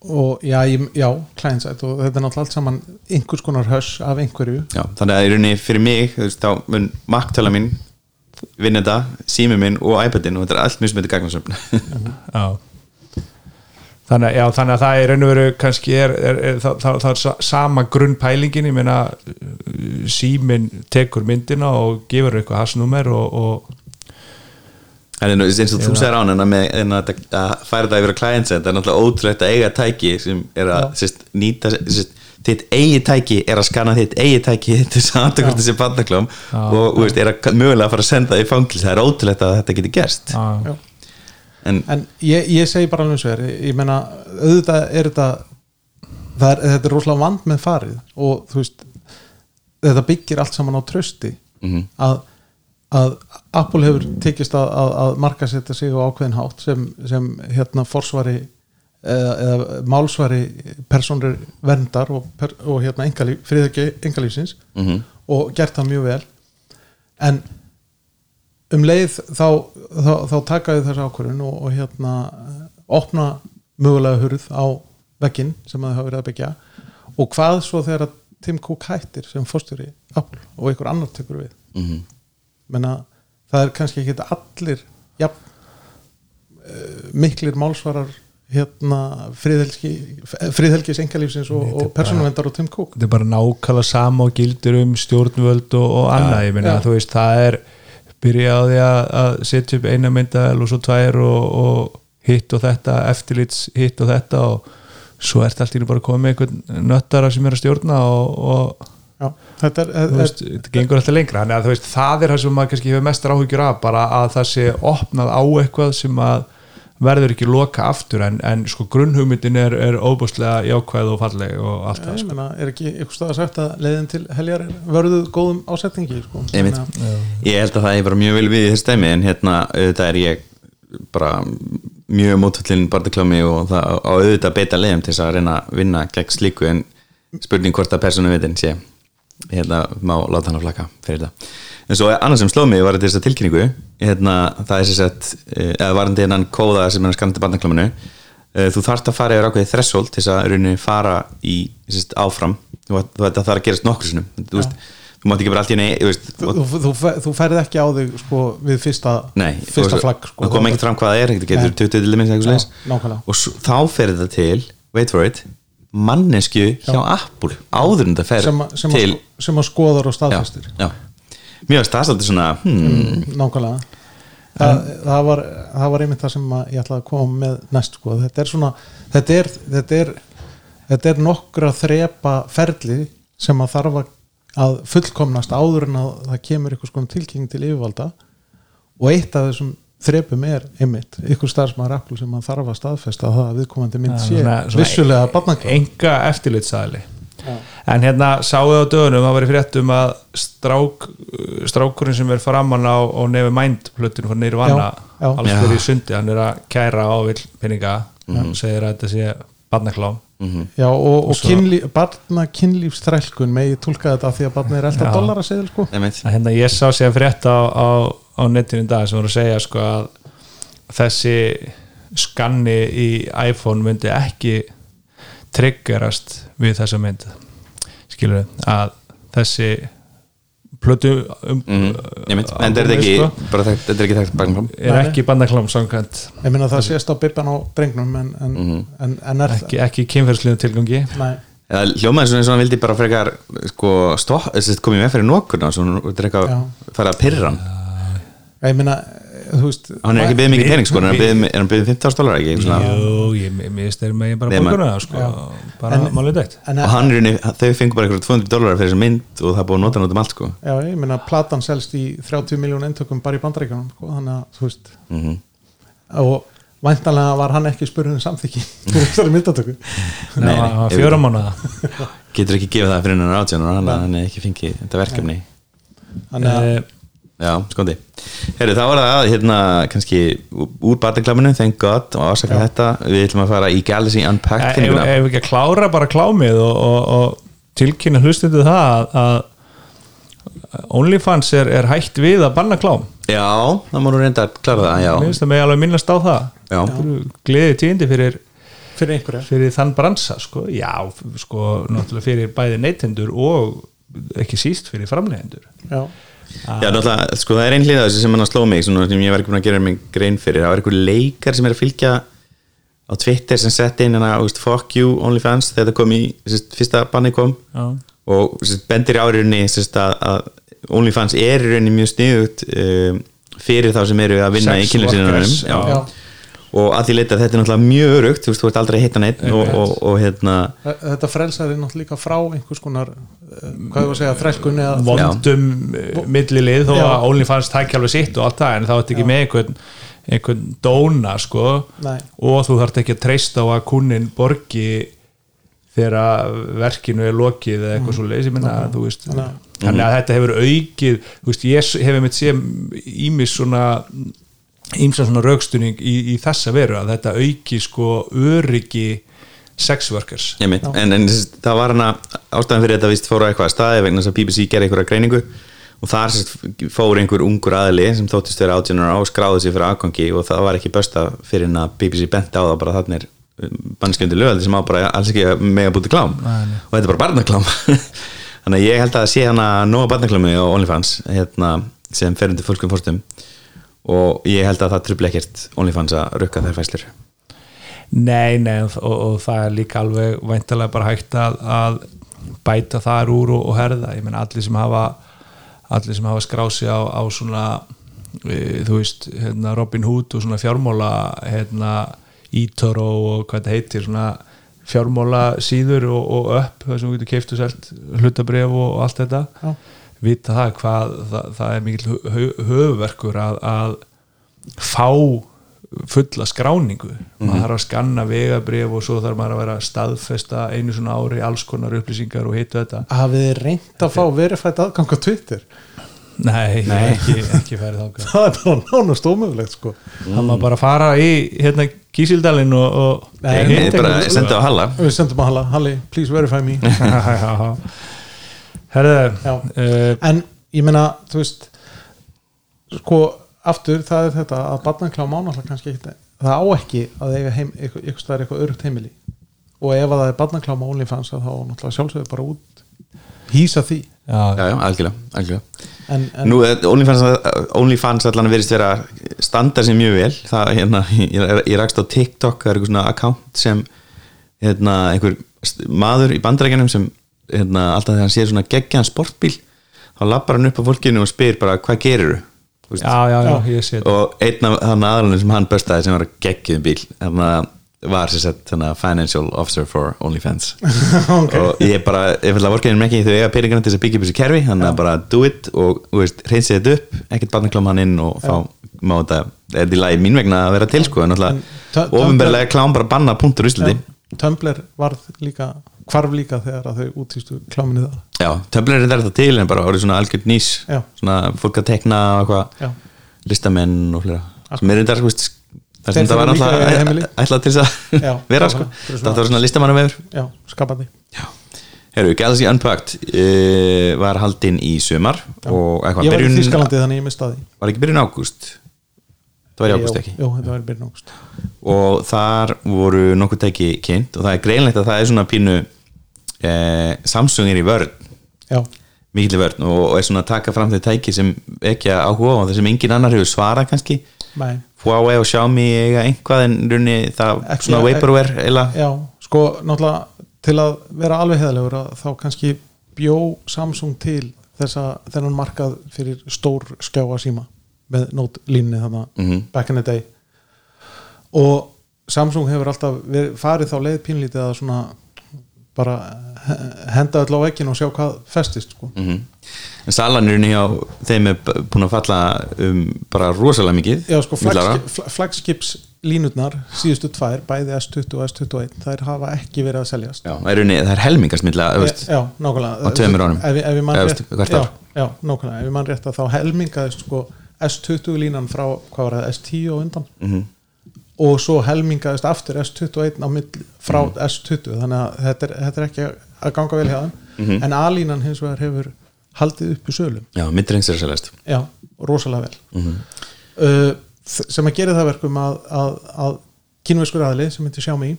og já, ég- já, klænsætt og þetta er náttúrulega allt saman einhvers konar höss af einhverju
Já, þannig að í rauninni fyrir mig þú veist, þá mun maktala mín vinna þetta, sími minn og iPadin og þetta er allt mjög sem þetta gagnasöfn
já. Þannig, að- já, þannig að það er raun og veru kannski er, er, er, það, það, það er sa- sama grunnpælingin ég meina uh, síminn tekur myndina og gefur eitthvað hasnúmer og, og
[laughs] En nú, eins og þú segir án en að, með, en að, þetta- að færa það yfir að client set það er náttúrulega ótrúlegt að eiga tæki sem er að sérst, nýta sérst, þitt eigi tæki er að skana þitt eigi tæki [laughs] til þess að andakorti sem bandaklám og þú veist, er að mögulega að fara að senda það í fangils það er ótrúlegt að þetta geti gerst
að,
já.
en
en ég, ég segi bara alveg sver ég meina, auðvitað er þetta það er, þetta er rosalega vand með farið og þú veist þetta byggir allt saman á trösti að, að Apple hefur tekist að, að, að marka setja sig á ákveðin hátt sem, sem hérna forsvari eða, eða málsvari personur verndar og, per, og hérna engalíf, friðarki engalífsins
Mhm.
og gert það mjög vel en um leið þá, þá, þá taka við þessu ákvörðun og, og hérna eh, opna mögulega hurð á vegginn sem þau hafa verið að byggja og hvað svo þegar að Tim Cook hættir sem fórstjóri Apple og einhver annar tekur við
mm
menna það er kannski ekki allir ja, miklir málsvarar hérna friðhelgi, eh, friðhelgis engalífsins og, og persónuvendar og Tim Cook
þetta er bara nákvæmlega sama og gildur um stjórnvöld og, og annað, ég meina,
Já.
þú veist, það er byrja á því að, að setja upp eina myndavel og svo tvær og, og hitt og þetta, eftirlits hitt og þetta og svo ert allt í einu bara komið einhvern nöttara sem er að stjórna og, og
Já, þetta er,
þú
er,
veist, þetta gengur alltaf lengra þannig að þú veist, það er það sem maður kannski hefur mestar áhyggjur af bara að það sé opnað á eitthvað sem að verður ekki loka aftur en, en sko grunnhugmyndin er, er óbúslega jákvæð og falleg og allt það
er,
sko.
menna, er ekki einhver stað að sagt að leiðin til heljar er vörðuð góðum ásetningi sko.
Einmitt.
Þannig að-
ég held að það er bara mjög vel við í þessu dæmi en hérna auðvitað er ég bara mjög mótfallin barndaklámi og það á auðvitað beita leiðum til þess að reyna að vinna gegn slíku en spurning hvort að persónu vitin sé hérna má láta hann að flaka fyrir það en svo annars sem sló mig var þetta þessa tilkynningu hérna það er sér sett eh, eða varandi hennan kóða sem er að skanna til barndakláminu Eh, þú þarft að fara yfir ákveðið þresshóld til þess að rauninni fara í sérst, áfram þú þú- þetta þarf að gerast nokkur sinnum þú veist, þú mátt ekki bara allt í henni þú veist,
þú, þú, þú, fer- þú ferð ekki á þig sko, við fyrsta,
Nei,
fyrsta
og-
flagg sko.
það kom ekkert fram hvað það er, þetta getur
Nei.
20 til minns eitthvað
Já,
slags
nákvæmlega.
og svo, þá fer þetta til, wait for it mannesku hjá Apple áður en þetta fer
sem, að- sem,
til
að, sko- sem að skoðar og
já,
staðfestir
já. mjög staðsaldi svona hmm,
nákvæmlega það, það, var, það var einmitt það sem að ég ætlaði að koma með næst sko. þetta er svona þetta er, þetta er, þetta er nokkra þrepa ferli sem að þarf að- að fullkomnast áður en að það kemur eitthvað skoðum tilkynning til yfirvalda og eitt af þessum þrepum er einmitt ykkur starfsmaður Apple sem að þarf að staðfesta að það að viðkomandi mynd sé vissulega barnaklá
enga eftirlitsæðli en hérna sáðu á dögunum það var í fréttum að strák, strákurinn sem er framann á og nefi mænd plötinu frá Nirvana
Já, já.
alls
Já.
fyrir í sundi, hann er að kæra á vill peninga, hann segir að þetta sé barnaklám
Já, og, og,
svo-
kynlí, barna kynlífstrælkun megi tólka þetta af því að barna er
Já.
alltaf dollara segil sko
einmitt.
að hérna ég sá sér frétt á, á, á netinu í dag sem voru að segja sko að þessi skanni í iPhone myndi ekki triggerast við þessa mynd skilur að þessi plötu um,
Mhm, einmitt. en þetta er
albumi,
ekki
sko,
bara þekkt- þetta er ekki þekkt baknum
Mm.
fram
er ekki bandaklám samkvæmt
Ég meina það sést á bibban á drengnum en, en, en, en er
ekki, ekki kynferðsliðum tilgangi
Nei,
eða hljómaði svona eins og hann vildi bara frekar sko, stopp, komið með fyrir nokkurna og svo þetta er eitthvað
Já.
að fara að pyrra hann
ég meina, þú veist
hann er ekki beðið mikið
Við-
pening sko, en hann
við-
beðið- er hann beðið 15 dólar ekki, eitthvað svona.
Jú, ég mér finnst þeir megin bara
Nei, maður-
borguna sko, bara
En-
málið dætt
en,
og hann er inni, þau fengur bara eitthvað 200 dólar fyrir þessa mynd og það er búið að nota hann út um allt sko
já, ég meina, platan selst í 30 miljón eintökum bara í bandaríkjunum sko, þannig að, þú veist
mm
og væntanlega var hann ekki spurðin samþykki [laughs] fyrir þessari myndatöku
Nei, nei,
Ná,
ef-
fjóra mánuða
getur ekki gefið það fyrir hennar átján og hann, hann er ekki fengið þetta verkefni
þannig
Eh.
að,
Eh,
já, skoði Heru, það var það, hérna, kannski ú- úr barnaklaminu, thank god og ásaka þetta, við ætlum að fara í Galaxy Unpacked
ef
kynninguna.
ef ekki að klára bara klámið og, og, og tilkynna hlustendu það að- að OnlyFans er, er hætt við að banna klám
já, það má nú reynda að klara það já,
mér finnst það með alveg minnast á það
já,
Þetta eru gleði tíðindi fyrir,
fyrir einhverja
fyrir þann bransa sko. já, f- sko, náttúrulega fyrir bæði neytendur og ekki síst fyrir framlegendur
já,
já náttúrulega, sko það er ein hlið af þessu sem hann sló mig, svona, sem ég var ekki búin að gera mig grein fyrir, það var einhver leikar sem er að fylgja á Twitter sem sett inn hana, þú veist, fuck you, OnlyFans þegar það kom í, sérst, fyrsta banni kom
Já.
og sérst, bendir áriðinni sérst, að, að OnlyFans er í rauninni mjög sniðugt um, fyrir þá sem eru að vinna
Sex
í kynlýsinnarum
workers, já.
já.
og að því leita að þetta er náttúrulega mjög örugt þú veist, þú ert aldrei að hitta neitt og, og, og hérna
þetta frelsaði náttúrulega líka frá einhvers konar, eh, hvað ég var að segja, þrælkunni eða
vondum eh, millilið þó
Já.
að OnlyFans tækja alveg sitt og allt það en þá ertu ekki með einhvern, einhvern dóna sko
Nei.
og þú þarft ekki að treysta á að kunnin borgi þegar að verkinu er lokið eða
Mm.
eitthvað svo leiðis, ég minna, þú veist þannig að þetta hefur aukið, þú veist ég hefur mitt séð ímis svona ímsa svona raukstunning í, í þessa veru að þetta auki sko öryggi sexworkers
Ég mitt, en, en sérst, það var hana ástæðan fyrir þetta vist fóra eitthvað að staði vegna þess að BBC gerði einhverja greiningu og þar sérst, fór einhver ungur aðli sem þóttist vera átjónur á og skráði sér fyrir aðgangi og það var ekki bösta fyrir en að BBC benti á það bara þannig er bannskjöndi lögaldi sem á bara alls ekki mega búti klám og þetta er bara barnaklám [laughs] þannig að ég held að það sé hana nóga barnaklámi á OnlyFans hérna, sem fer undir fólkum fórstum og ég held að það trubli ekkert OnlyFans að rukka þær fæslur
Nei, nei, og, og það er líka alveg væntalega bara hægt að, að bæta þar úr og, og herða ég meina allir sem hafa allir sem hafa skrási á, á svona e, þú veist, hérna Robin Hood og svona fjármála hérna Ítoro og hvað þetta heitir svona fjármála síður og, og upp, það sem þú getur keift og selt hlutabref og, og allt þetta
Já.
vita það hvað það, það er mikill hö- hö- höfuverkur að, að fá fulla skráningu maður þarf að skanna vegabrif og svo þarf maður að vera að staðfesta einu svona ári alls konar upplýsingar og hitt og þetta
hafið þið reynd að fá verifætt aðgang á Twitter [laughs]
nei, Nei. [laughs] ekki, ekki færið þáka
það er bara nánast ómögulegt sko
það maður bara að fara í hérna Kísildalinn og, og
Nei,
Ég-
nei,
ég bara senda á Halla
við sendum að Halli, Halli, please verify me Já.
[laughs] herðu eh,
en ég meina, þú veist sko, aftur það er þetta að barnaklá mánáttúrulega kannski ekki það á ekki að eiga heim eitthvað, eitthvað, eitthvað, eitthvað örugt heimili og ef að það er barnaklá máli fannst þá náttúrulega sjálfsögðu bara út hýsa því
já,
Já, já, algjörlega, algjörlega.
en, [laughs] en
Nú, eh, OnlyFans, OnlyFans allan verist vera að standa sem mjög vel það, hérna, ég, ég rakst á TikTok það er einhver svona account sem hérna, einhver st- maður í bandarækjanum sem hérna, alltaf þegar hann sér svona geggjan sportbíl þá labbar hann upp á fólkinu og spyr bara hvað gerirðu Þú veist,
já, já, já, ég sé þetta
og einn af þann aðalunum sem hann böstaði sem var að geggjum bíl þannig að var sér sett þannig að financial officer for OnlyFans
[laughs]
og ég bara, ég fælla vorkaðin ekki þau eiga peningarna til þess að byggja upp þessi kerfi þannig að bara do it og þú veist, reynsi þetta upp ekkert barnaklám hann inn og þá má þetta, þetta er í lagi mín vegna að vera til sko, en
En tö-
alltaf ofinberlega klám bara banna punktur úsliti
Tumblr varð líka hvarf líka þegar að þau útýstu kláminni það
já, töflur er þetta til en bara orðið svona algjörn nýs
Já.
svona fólk að tekna og
Já.
eitthvað listamenn og flera sem er þetta sko, veist, það sem
Þeir
þetta var
þurfa líka að eiga heimili.
alltaf ætlað til þess
Já,
að [laughs] vera sko,
nákvæmlega. Þetta er svona-
þetta var svona listamannum vefur
já, skapandi
Já. Herru, Galaxy Unpacked uh, var haldinn í sumar og eitthvað
ég var í
byrjun
Þýskalandi þannig ég mista því
var ekki byrjun ágúst það var í ágúst ekki
Jú, jú, þetta var í byrjun ágúst
og þar voru nokkuð tæki kynnt og það er greinlegt að það er svona pínu eh, Samsung er í vörn
Já,
mikill í vörn og, og er svona að taka fram þau tæki sem ekki að áhuga á það sem engin annar hefur svarað kannski
nei
Huawei og Xiaomi eiga einhvað en runni það
Ekki-
svona vaporware eila
Já, sko, náttúrulega til að vera alveg heðalegur að þá kannski bjó Samsung til þessa, þennan markað fyrir stór skjáa síma með nótlínni þarna
Mhm.
back in the day og Samsung hefur alltaf verið, farið þá leið pínlítið að svona bara he- henda öll á veggin og sjá hvað festist sko.
Mhm. En salanurinn hjá þeim er b- búin að falla um bara rosalega mikið
Já, sko,
milli ára.
flagskip, fla- flagskipslínurnar síðustu tvær, bæði S20 og S21 þær hafa ekki verið að seljast
Já, það er runni, það er helmingast milla, þú veist,
Já, já, nákvæmlega
Á tveimur árum.
Ef, ef ég man
Eða,
rétt,
veist, hvert
já,
ár.
já, nákvæmlega, ef ég man rétt að þá helmingaðist sko S20 línan frá, hvað var það, S10 og undan
Mhm.
og svo helmingaðist aftur S21 á mill frá S20 þannig að þetta er, þetta er ekki að ganga vel hjá þeim en A-línan hins vegar hefur haldið upp í sölum
já, middreins er seljast
já, rosalega vel
Mhm.
uh, þ- sem að gera það verkum að, að, að kínverskur aðli sem heitir Xiaomi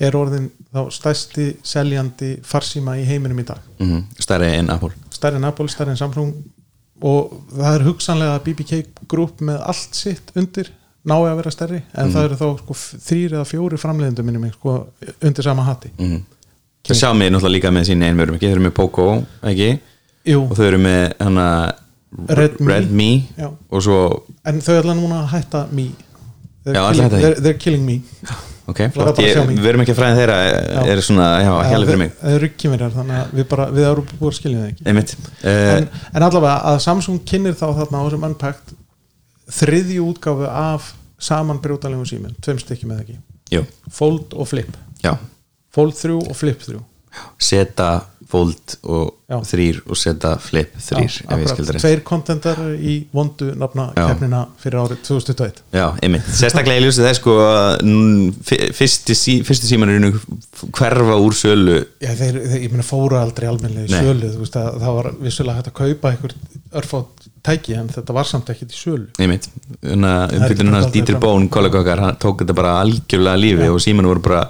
er orðin þá stærsti seljandi farsíma í heiminum í dag
mm stærri en Apple
stærri en Apple, stærri en Samsung og það er hugsanlega að BBK Group með allt sitt undir nái að vera stærri en
Mhm.
það eru þá sko, þrýr eða fjóri framleiðendur minnum sko, undir sama hatti
mm það sjá mig náttúrulega líka með sín einmörum ekki, þau eru með Poco, ekki
Jú,
og þau eru með hana
Redmi.
Redmi
Já.
og svo,
en þau ætla núna að hætta me they're,
Já, ætla
killing,
hætta því.
they're, they're killing me
ok,
bara
flott ég,
Xiaomi.
við erum ekki að fræða þeirra
Já.
er svona, já, ekki alveg fyrir mig
Það eru ekki verið þannig að við bara, við erum búið að skilja það ekki
einmitt, uh,
en, en allavega að Samsung kynir þá þarna á þessum Unpacked þriðju útgáfu af samanbrjótanlegum símum, tveim stykki með ekki
jú,
Fold og Flip
já
Fold 3 og Flip 3
seta fold og
Já.
þrýr og seta flip þrýr, ef ég
Já, akkurat.
skildur þetta
Tveir kontentar í vondu nafna
Já.
keppnina fyrir árið 2021
Já, einmitt, sérstaklega í ljósið það sko að nú fy- fyrsti, sí, fyrsti símanurinn hverfa úr sölu
Já, þeir, þeir, ég meina fóru aldrei almennlega í
Nei.
sölu þú veist að það var vissulega hægt að kaupa einhver örfátt tæki en þetta var samt ekkert í sölu
einmitt,
er ekki
umfylgurinn hans
aldrei
Dieter
fram.
Bón, kollega okkar, hann tók þetta bara algjörlega af lífi og símanur voru bara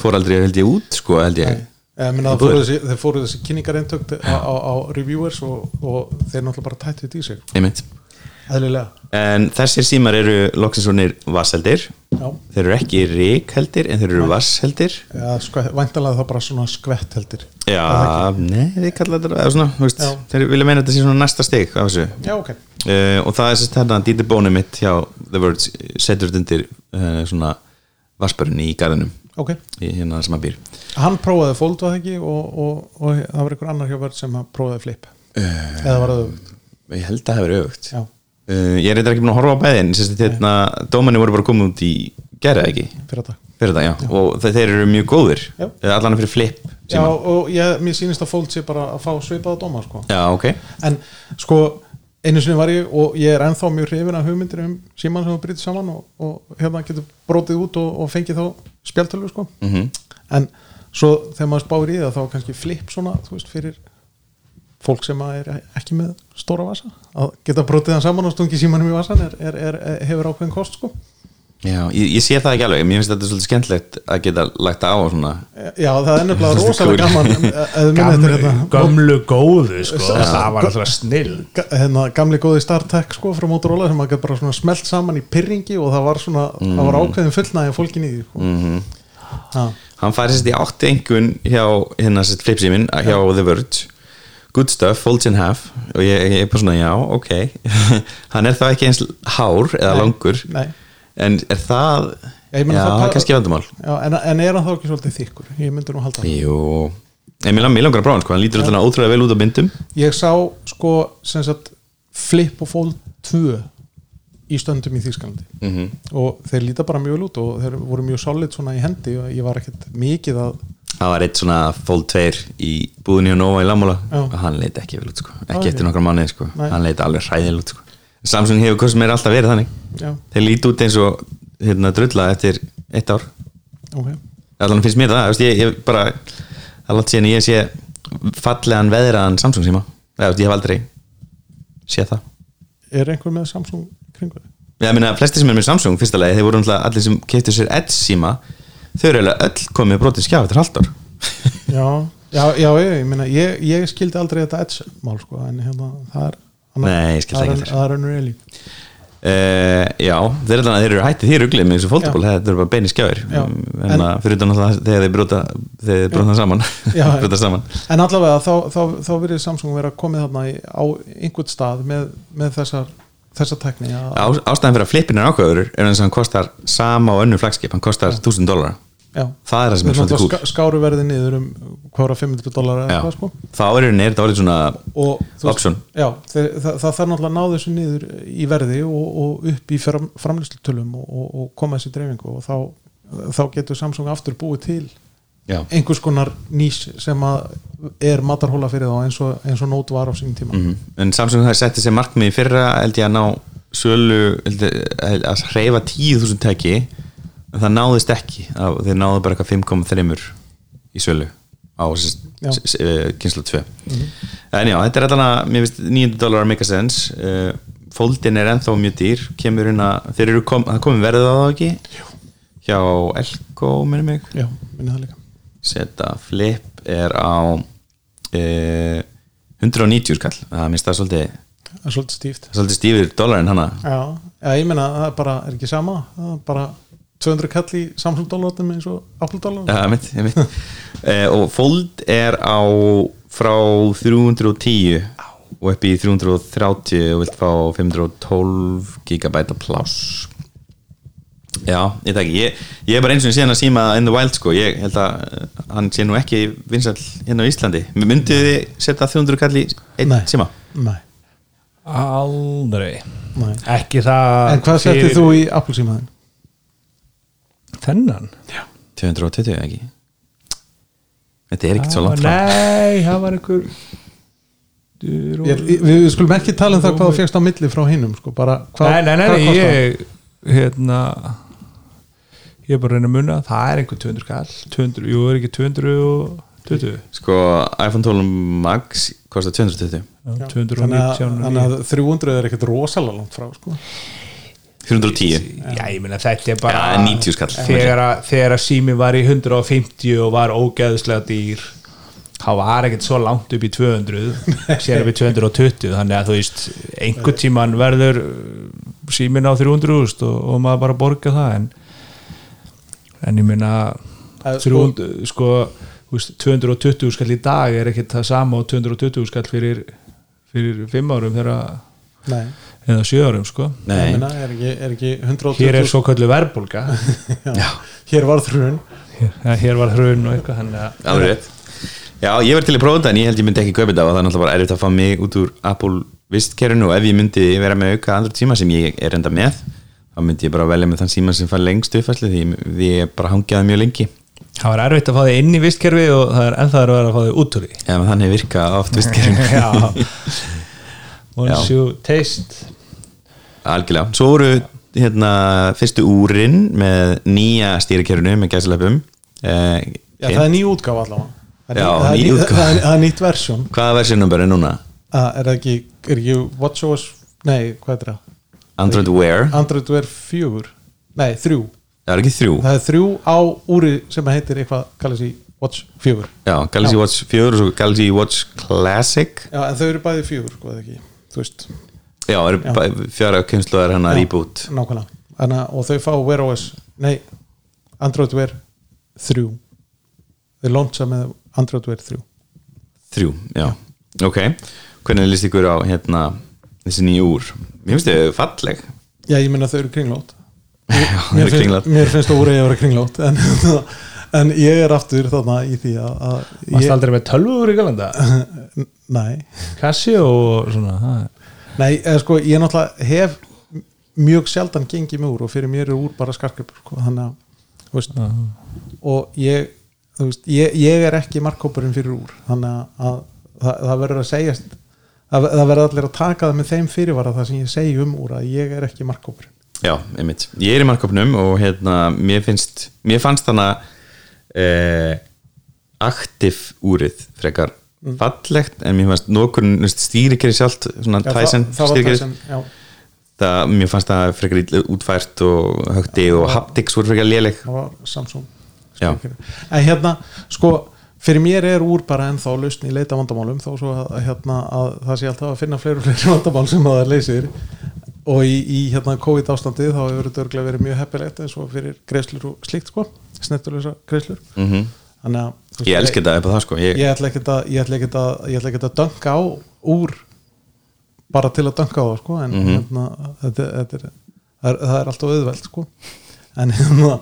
fór aldrei held ég út sko, held ég
Ég meina
Í
það fóru
búðir.
þessi, þeir fóru þessi kynningareintökt á, á, á reviewers og, og þeir náttúrulega bara tættu þetta í sig
einmitt,
eðlilega,
en þessir símar eru loksinsonir vasseldir
já,
þeir eru ekki ríkheldir en þeir eru vassheldir
ja, skvæ, sko, væntanlega það bara svona skvett heldur
Já, nei, þið kallar þetta eða svona, þú veist,
Já.
þeir vilja meina að þetta sé svona næsta stig af þessu
Já, ok,
uh, og það er sérst þetta dítið bónið mitt hjá The Words setur þetta undir uh, svona vassbörun í garðinum
ok
í hérna sem að býr
Hann prófaði Fold var það ekki og, og, og, það var einhver annar hjófverð sem að prófaði Flip eða var það öfugt?
ég held að það hefur öfugt
Já.
uh, ég er eitthvað ekki búin að horfa á bæðin sérst þetta dóminni hérna, voru bara komið út í gerða ekki
fyrir þetta
fyrir það, já, og þe þeir eru mjög góðir
Já.
Eða allan fyrir flip
Já,
síma.
og ég, mér sýnist að fólk sé bara að fá svipaða dóma sko.
já, ok
en sko, einu sinni var ég og ég er ennþá mjög hrifin af hugmyndir um síman sem þú brýtir saman og, og hérna getur brotið út og, og fengið þá spjaltölu sko.
Mhm.
en svo þegar maður spáir í það þá er kannski flip svona, þú veist, fyrir fólk sem að er ekki með stóra vasa að geta brotið hann saman og stungi símanum í vasan er, er, er, hefur ákveðin kost sko.
Já, ég, ég sé það ekki alveg, mér finnst þetta svolítið skemmtlegt að geta lagt á og svona
E, já, það er nefnilega rosalega
Cool.
gaman eh, eh, ef þú munið eftir
gamlu,
þetta.
gamlu góðu sko. það var alltaf snill
Ga- hérna, gamli góði StarTech sko frá Motorola sem maður gæti bara svona smelt saman í pyrringi og það var svona, það var ákveðin fullnæði fólkin í því sko. mm
Hann fær sérst í áttu engun hjá hérna sérst flipsíminn, hjá The Verge Good stuff, folds in half og ég, ég er bara svona, já, ok [laughs] Hann er þá ekki eins hár eða
Nei,
langur
nei.
En er það,
Já, ég meina
já,
það
það
bara-
er kannski vandumál
Já, en, en er hann þá ekki svolítið þykkur ég myndi nú halda það
Jú, ég mér langar- mig langar að prófa hann, sko, hann lítur alltaf ótrúlega vel út á myndum
ég sá sko sem sagt Flip og Fold 2 í stöndum í Þýskalandi -hmm.
Mhm.
og þeir líta bara mjög vel út og þeir voru mjög solid svona í hendi og ég var ekkert mikið að
Það var eitt svona fold 2 í búðinni hjá Nova í Lamála
Já.
og hann leit ekki vel út sko, ekki
Nei.
eftir nokkra mánuði sko
Nei.
hann leit alveg hræðil út sko Samsung hefur hvort sem er alltaf verið þannig
já,
þeir líti út eins og hérna drulla eftir eitt ár
ok,
allan finnst mér það, þú veist, ég, ég bara það er langt síðan ég sé fallegan veðraðan Samsung síma Eða, þú veist, ég hef aldrei séð það
er einhver með Samsung í kringu þau?
Já, ég meina, flesti sem er með Samsung fyrsta lagi, þeir voru náttúrulega allir sem keiptu sér Edge síma þau eru eiginlega öll komið brotið skjá eftir halvt ár
Já, já, já ég, ég, meina, ég, ég skildi aldrei þetta edge-mál sko, en hérna, það er annar-
Nei, ég skildi
það er
ekki
ön-
heldur.
Það er önnur elí
Uh, já, þeir, þannig að þeir eru hættið því ruglið með þessu fólkból,
Já.
þetta eru bara beinir skjáir
Já.
en að fyrir utan alltaf þegar þeir brota þegar þeir brota saman [laughs]
Já, já.
brota saman
En allavega, þá, þá, þá, þá verið Samsung vera komið þarna í, á einhvern stað með, með þessar þessa tækni að,
Á, ástæðan fyrir að flippin er ákveður er eins og hann kostar sama á önnu flagskip hann kostar 1000 dólar
já,
það er það sem er
Við
svolítið
náttúrulega
kúl
ská- skáru verði niður um hvora 500 dólar eða
Já.
eitthvað sko
þá er hann er þetta orðið svona
og þú veist-
Option.
já, þeir, það, það þarf náttúrulega að ná þessu niður í verði og, og upp í fram, framlýslutölum og, og, og koma þessi dreifingu og þá, þá getur Samsung aftur búið til
já,
einhvers konar nýs sem að er matarhóla fyrir þá eins og, eins og nót var á sínum tíma
Mhm. en Samsung hafði settið sér markmið í fyrra held ég að ná sölu held ég, að að hreyfa 10.000 tæki en það náðist ekki Það- þeir náðu bara eitthvað 5,3 í sölu á
Já.
kynslu 2 eh, en já, þetta er allan að mér finnst 900 dólar make a sense uh, fóldin er ennþá mjög dýr kemur inn að þeir eru kom, það komið verðið á það ekki hjá Elko minni mig
já, minni það líka
seta flip er á uh, 190 skall það minnst það svolítið
það er svolítið stíft
svolítið stífur dólarinn hana
já, já ég meina það er bara, er ekki sama það er bara 200 kall í Samsung dólarum eins og Apple dólarum
ja, mitt, mitt. uh, og fold er á frá 310 og upp í 330 og vilt fá 512 gigabæta pláss já, ég takk ég, ég er bara eins og síðan að síma in the wild sko, ég held að eh, hann sé nú ekki vinsall hérna á Íslandi myndið þið setja 300 kall í einn
Nei.
síma?
nei,
Aldrei
nei
Ekki það
en hvað settir þú í Apple símaðin?
Þennan?
220 eða ekki þetta er ekkert svo langt frá
Ah, Nei, það var einhver Dur og-
Ég, ég- við við skulum ekki tala um það hvað þú fegst á milli frá hinnum sko, bara hvað
Nei, nei, nei,
hvað kostar það?
ég Hérna Ég er bara að reyna að muna Það er einhver 200 kall 200, jú, er ekki 220
sko iPhone 12 Max kostar 220
Já,
219
þannig að 300 er ekkert rosalega langt frá sko.
310
Já, ég meina þetta er bara
Já, 90 skall.
Þegar, að- þegar að sími var í 150 og var ógeðslega dýr þá var ekkert svo langt upp í 200 sér upp í 220 þannig að þú veist, einhver tíman verður uh, símin á 300 og, og maður bara borga það en, en ég meina
Það er
300, sko, þú veist, 220 skall í dag er ekkert það sama og 220 skall fyrir, fyrir 5 árum þegar að-
nei,
eða 7 árum sko
ég
Nei,
meina, er ekki, er ekki 120
hér er svo kallu verbulga
[laughs]
[laughs] já, hér var þrjun
hér, eða hér var hrun og eitthvað þannig að
alveg rétt Já, ég verð til að prófa þetta en ég held ég myndi ekki kaupa þetta og það er náttúrulega bara erfitt að fá mig út úr Apple vistkerinu og ef ég myndi vera með auka andra tíma sem ég er enda með þá myndi ég bara velja með þann síma sem fær lengst uppfæslu því, því ég bara hangjaði mjög lengi
það var erfitt að fá þig inn í vistkerfi og það er ennþá erfitt að fá þig út úr
[laughs]
því
eða þannig virka oft vistkerinu
já once
Já.
you taste
Algjörlega, svo voru hérna fyrstu úrin með nýja stýrikerinu með gæsleipum eh,
já, það er ný útgáfa allavega Það er-
Já,
það er
ný
ný-
útgáfa.
það er- það er nýtt versjón
Hvaða versjónum bara núna?
uh, er það ekki, er ekki WatchOS nei, hvað er það?
Android Wear,
Android Wear 4 nei, 3,
það er ekki þrjú
það er 3 á úri sem heitir eitthvað, kallar sér Watch 4
Já, Galaxy
Já.
Watch 4 og svo Galaxy Watch Classic
já, en þau eru bæði 4, hvað er ekki þú veist,
Já, eru
Já.
bæ- fjara kynnslóðar hennar
Já.
reboot
nákvæmlega Anna, og þau fá Wear OS, nei Android Wear 3 þau launcha með Android Wear 3
Þrjú, já, ok Hvernig líst ykkur á hérna þessi nýju úr? Mér finnst þau falleg
já, ég meina þau eru kringlót
Já, þau eru
mér finnst, Mm.
kringlótt.
mér finnst það úrið að vera kringlót en, [laughs] en ég er aftur þarna í því að, að
varst
ég,
aldrei með tölvur í galanda
nei,
kassi og svona það-
nei eða, sko, ég náttúrulega hef mjög sjaldan gengið mig úr og fyrir mér er úr bara skarkjöpur sko, þannig að þú veist, og ég, þú veist, ég ég er ekki markkópurinn fyrir úr þannig að, að það, það verður að segjast það, það verður allir að taka það með þeim fyrirvara það sem ég segi um úr að ég er ekki markkópurinn
Já, einmitt. Ég er í markopnum og hérna, mér finnst, mér fannst hana eh, aktiv úrið frekar
Mm.
fallegt en mér fannst nokkurn stýrikeri sjálft, svona
Já,
Tyson
það, það var
stýrikeri,
Tyson, já,
það, mér fannst það frekar illa útfært og högti og haptics voru frekar léleg.
það var Samsung
Já.
en hérna sko fyrir mér er úr bara ennþá lausn í leita vandamálum þá svo að, hérna, að það sé alltaf að finna fleiri og fleiri vandamál sem að það leysir og í, í hérna COVID ástandið þá hefur þetta örglega verið mjög heppilegt eins og fyrir greislur og slíkt sko snettulegsa greislur
Mm
þannig að þú veist,
Ég elska þetta upp á það sko, ég,
ég ætla ekkert að ég ætla ekkert að, ég ætla ekkert að dönga á úr bara til að danka á það sko, en hérna, þetta, þetta er, það er það er alltaf auðveld sko. en, hérna,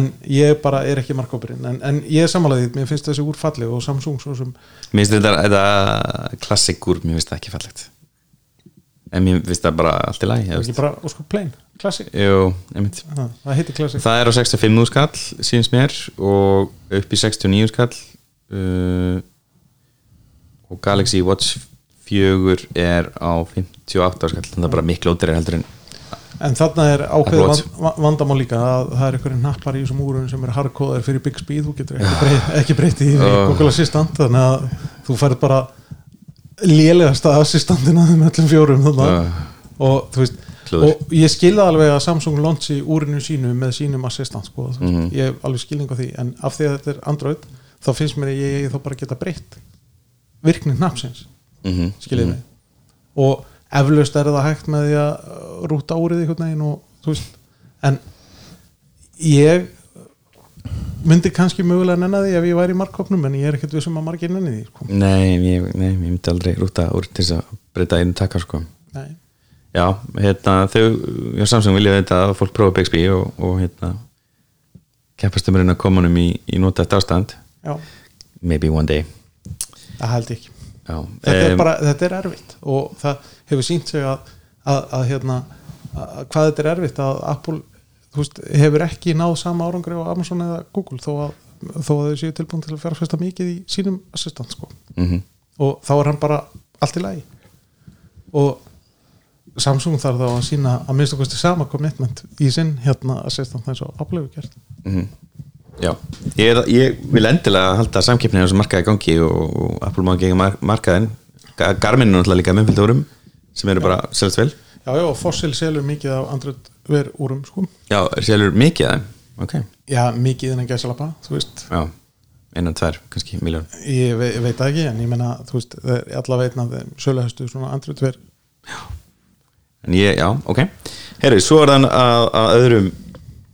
en ég bara er ekki markópurinn en, en ég er samanlega því, mér finnst þessi úr falleg og Samsung svo sem
Mér finnst þetta, þetta klassikur, mér finnst það ekki fallegt En mér finnst það bara allt í lagi
ekki bara, og sko plain, klassi
Jú, einmitt
Ha, það heitir klassi
Það er á 65 skall, síðans mér og upp í 69 skall uh, og Galaxy Watch 4 er á 58 skall þannig að það er bara miklu ótrið heldur en
en þarna er ákveð
Apple
vand,
Watch.
va- vandamál líka að það er einhverjir nappar í þessum úrunum sem eru hardkóðar fyrir Bixby þú getur ekki, breyt, ekki breyti í
Já.
Google Assistant þannig að þú færð bara lélegasta assistantina þeim öllum fjórum þannig
Já.
og þú veist
Klúður.
og ég skilða alveg að Samsung launchi úrinu sínu með sínum assistant sko, þú veist,
Mhm.
ég hef alveg skilning á því en af því að þetta er Android þá finnst mér að ég, ég þá bara að geta breytt virkni hnappsins
mm -hmm.
skiljiði mig og eflaust er það hægt með því að uh, rúta úrið einhvern veginn og þú veist en ég myndi kannski mögulega nenni því ef ég væri í markkopnum en ég er ekkert vissum að margir nenni því sko.
Nei, ég, nei, ég myndi aldrei rúta úr til þess að breyta einu taka sko
Nei.
Já, hérna, þau já, Samsung vilja þetta að fólk prófa Bixby og, og hérna keppast um að reyna að koma honum í, í nota þetta ástand
já,
maybe one day
það held ég ekki
Já,
þetta,
em,
er bara, þetta er erfitt og það hefur sínt sig að, að, að hérna að, hvað þetta er erfitt að Apple þú veist, hefur ekki náð sama árangri á Amazon eða Google þó að, þó að þau séu tilbúin til að fjárfesta mikið í sínum assistant sko
mhm.
og þá er hann bara allt í lagi og Samsung þarf þá að sína að minnst okkur sama commitment í sinn hérna að sérst þannig svo aflegu gert
Já, ég, er, ég vil endilega halda samkeppninu sem markaði gangi og, og Apple má gegn mar markaðin Ga- Garmin er náttúrulega líka með fullt úrum sem eru bara selst vel
Já, já, og Fossil selur mikið af Android ver úrum sko
Já, selur mikið af þeim Ok,
Já, mikið innan gæsalapa, þú veist
já, einan tvær, kannski miljón
ég ve veit það ekki, en ég menna þú veist, þeir- alla veitna þeim söluhestu svona Android ver
En ég, já, ok Herri, svo er þann að, að öðrum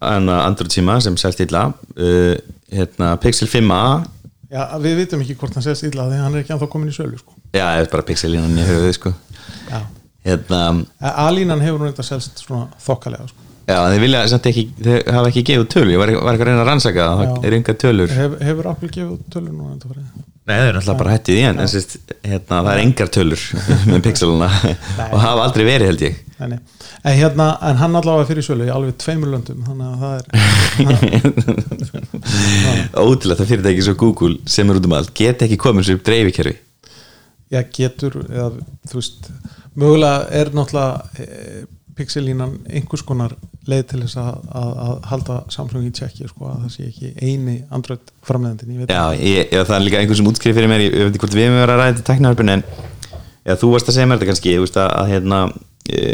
en að Android síma sem selst illa uh, hérna, Pixel 5a
Já, við vitum ekki hvort hann sést illa því hann er ekki anþá komin í sölu sko
Já, það er bara Pixel innan í höfuðu sko
Já,
Hérna,
alínan hefur hún eitthvað selst svona þokkalega sko
já, þeir vilja samt ekki þeir hafa ekki gefið tölu, ég var, var ekki að reyna að rannsaka það,
Já.
það er enga tölur
Hef, Hefur Apple gefið út tölur núna þetta fyrir
Nei, það er alltaf bara hættið í hann en sérst, hérna, það er engar tölur [laughs] með pixeluna og hafa aldrei verið held [laughs] ég
Nei, nei. En, hérna, en hann allavega fyrir sölu í alveg tveimur löndum þannig að það
[laughs]
er
Ótrúlega það fyrirtæki svo Google sem er út um allt geta ekki komið sér upp dreifikerfi
já, getur eða, þú veist, mögulega er náttúrulega e, pixelínan einhvers konar leið til þess að, að, að halda Samsung í tjekki sko, að það sé ekki eini Android framleiðandinn, ég veit
Já, ég, ég, það er líka einhver sem útskriði fyrir mér ég, ég veit ekki hvort við erum að ræða þetta teknaröpun en eða, þú varst að segja mér þetta kannski ég, veist, að, að hérna, e,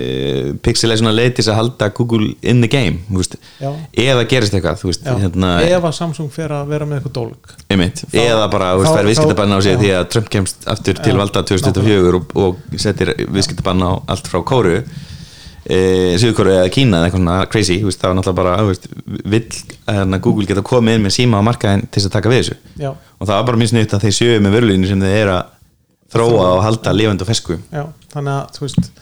pixel er svona leið til þess að halda Google in the game þú veist,
Já.
ef það gerist eitthvað þú veist,
Já,
hérna,
ef að Samsung fer að vera með eitthvað dólg
Einmitt,
Þá-
eða bara þú veist,
þá-
fær viðskiptabann á sig
þá-
því að Trump kemst aftur til
Já,
valda 2024 og, og setir viðskiptabann á allt frá Kóru e, Suðkóru eða Kína eða eitthvað svona crazy, þú veist, það var náttúrulega bara þú veist, vill hérna, Google geta komið inn með síma á markaðin til þess að taka við þessu
Já.
og það var bara minn snitt að þeir sjöu með vörlunni sem þeir eru að þróa og halda lifandi og fesku
Já, þannig að þú veist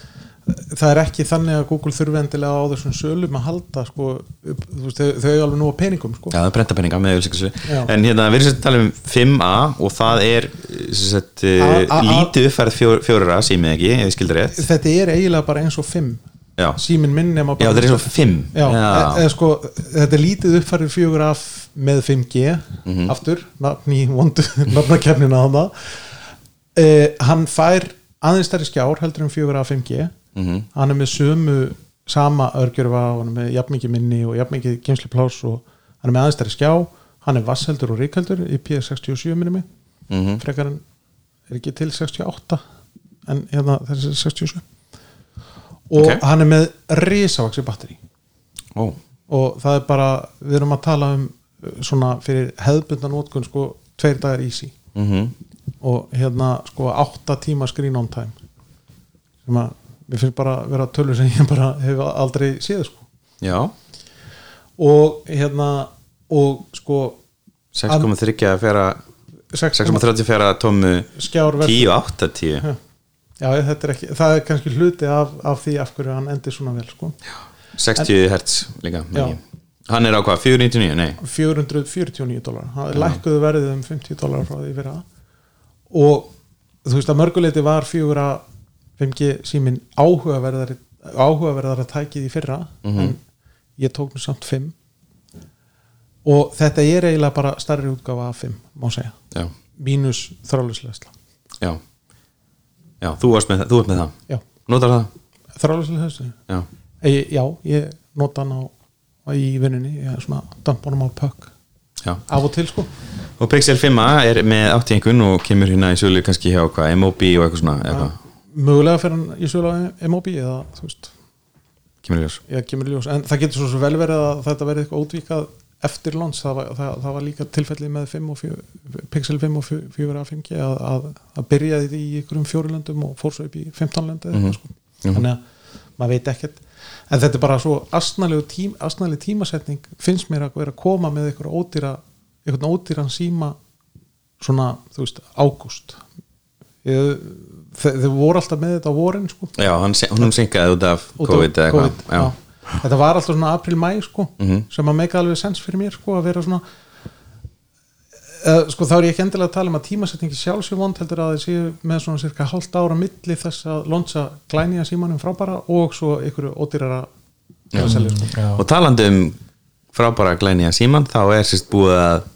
það er ekki þannig að Google þurfi endilega á þessum sölum að halda sko, upp, þú veist, þau, þau eru alveg nú á peningum sko.
Já, það er brentapenninga með auðvilsingarsölu
Já.
En hérna, við erum sér að tala um 5A og það er sem sagt, eh,
A- A- A-
lítið uppfærð fjór- fjórara, símið ekki, ef ég skildi rétt
þetta er eiginlega bara eins og 5
Já.
síminn minn nema
Já,
bara
þetta er eins og fimm
Já, e- eða sko, þetta er lítið uppfærið fjögur af með 5G
Mhm.
aftur, nafn í vondu [laughs] nafnakefnina hann e, hann fær aðeins stærri skjár heldur en fjögur af 5G
Mhm.
hann er með sömu sama örgjörfa og hann er með jafnmikið minni og jafnmikið geimsliplás og hann er með aðeins stærri skjá hann er vassheldur og ríkheldur í PS67 minni
Mhm.
frekar en er ekki til 68 en hérna þessi 67 og
Ok.
hann er með risavaksi batteri
Ó,
og það er bara, við erum að tala um uh, svona fyrir hefðbundan ótkun sko, tveir dagar easy
mhm,
og hérna sko átta tíma screen on time sem að við finnst bara vera tölur sem ég bara hef aldrei séð sko
já
og hérna og sko
6,34
6,3
6,34 tómu
skjár versus
10 og 8 10
Já. já, þetta er ekki, það er kannski hluti af, af því af hverju hann endi svona vel sko.
60 hertz líka
Já.
mikið. hann er á hvað, 499, nei
449 dólar hann lækkuðu verðið um 50 dólar frá því fyrir það og þú veist að mörguleiti var 4 5G símin áhugaverðar áhugaverðar að tækið í fyrra en ég tók nú samt 5 og þetta er eiginlega bara starri útgáfa af 5 má segja,
já,
mínus þrálusleysla
já, já þú, varst með, þú ert með það
já,
notar það,
þrálusleysla
já,
ég, já, ég nota hann á á- í vinninni, ég er svona dampunum á pökk
já
af og til sko
og Pixel 5a er með áttingun og kemur hérna í sölu kannski hjá hvað, MOB og eitthvað svona eða hvað,
mögulega fyrir hann í sölu á MOB eða þú veist
kemur í ljós
Já, kemur í ljós, en það getur svo, svo vel verið að þetta verið eitthvað ótvíkað eftir lands það var, það, það var líka tilfellið með 5 og 4, Pixel 5 og 4 að 5G að, að, að byrjaði í ykkurum fjórulöndum og fór svo upp í 15 löndi
Mhm,
mm sko. þannig að maður veit ekkert en þetta er bara svo astnalegu tím, astnaleg tímasetning finnst mér að vera að koma með ykkur ódýra ykkur ódýran síma svona, þú veist, ágúst Ég- þe- þau voru alltaf með þetta á vorin sko
já, hann, se- hún synkaði út af
út af
COVID eða
COVID,
eitthvað, já, Mhm.
já. þetta var alltaf svona april-mæ sko, sem að meika alveg sens fyrir mér sko, að vera svona eða, sko þá er ég ekki endilega að tala um að tímasetningi sjálfsig vond heldur að það séu með svona cirka hálft ára milli þess að lonsa glænýja símanum frábara og svo ykkur ódýrara
Já.
selja, sko.
Já.
og talandi um frábæra glænýja síman þá er sérst búið að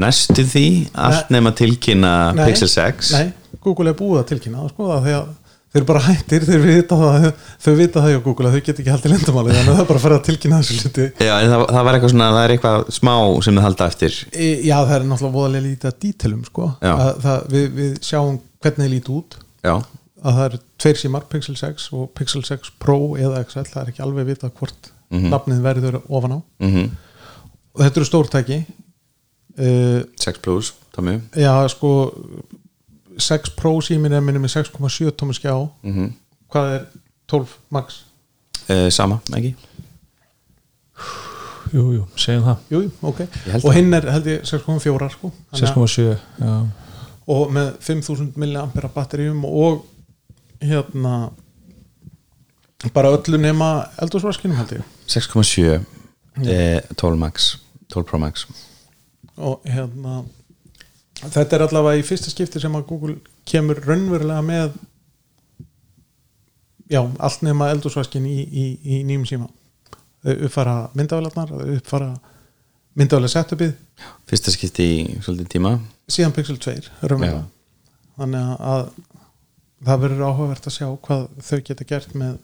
næstu því allt nema tilkynna
Nei,
Pixel 6
nei, Google er búið að tilkynna það, sko, að því að þeir eru bara [laughs] hættir, þeir vita það þau vita það hjá Google að þau get ekki haldið lendamáli þannig að það er bara að fara að tilkynna þessu hluti
Já, en það, það var eitthvað svona, það er eitthvað smá sem þið halda eftir
E, Já, það er náttúrulega voðalega lítið að dítilum sko.
Já.
að, það, við, við sjáum hvernig þið lítið út
Já,
að það eru tveir símar, Pixel 6 og Pixel 6 Pro eða XL það er ekki alveg vitað hvort
Mhm.
nafnið verður ofan á
mm
og þetta eru stórtæki uh,
6 plus, Tommy
Já, sko 6 Pro símin er minni með 6,7 tómi skjá
Mhm.
hvað er 12 max?
uh, Sama, ekki?
Jú, jú, segjum það
Jú, jú, ok,
Ég held
og
það.
hinn er held ég 6,4 sko Þannig að-
6,7 já.
og með 5000 milliampera batteríum og hérna bara öllu nema eldursvaskinum held ég
6,7 eh, 12 max, 12 pro max
og hérna þetta er allavega í fyrsta skipti sem að Google kemur raunverulega með já, allt nema eldursvaskin í, í, í nýjum síma þau uppfara myndavélarnar þau uppfara myndavélar setupið
Fyrsta skipti í svolítið tíma
síðan Pixel 2 raunverulega
Já.
þannig að það verður áhugavert að sjá hvað þau geta gert með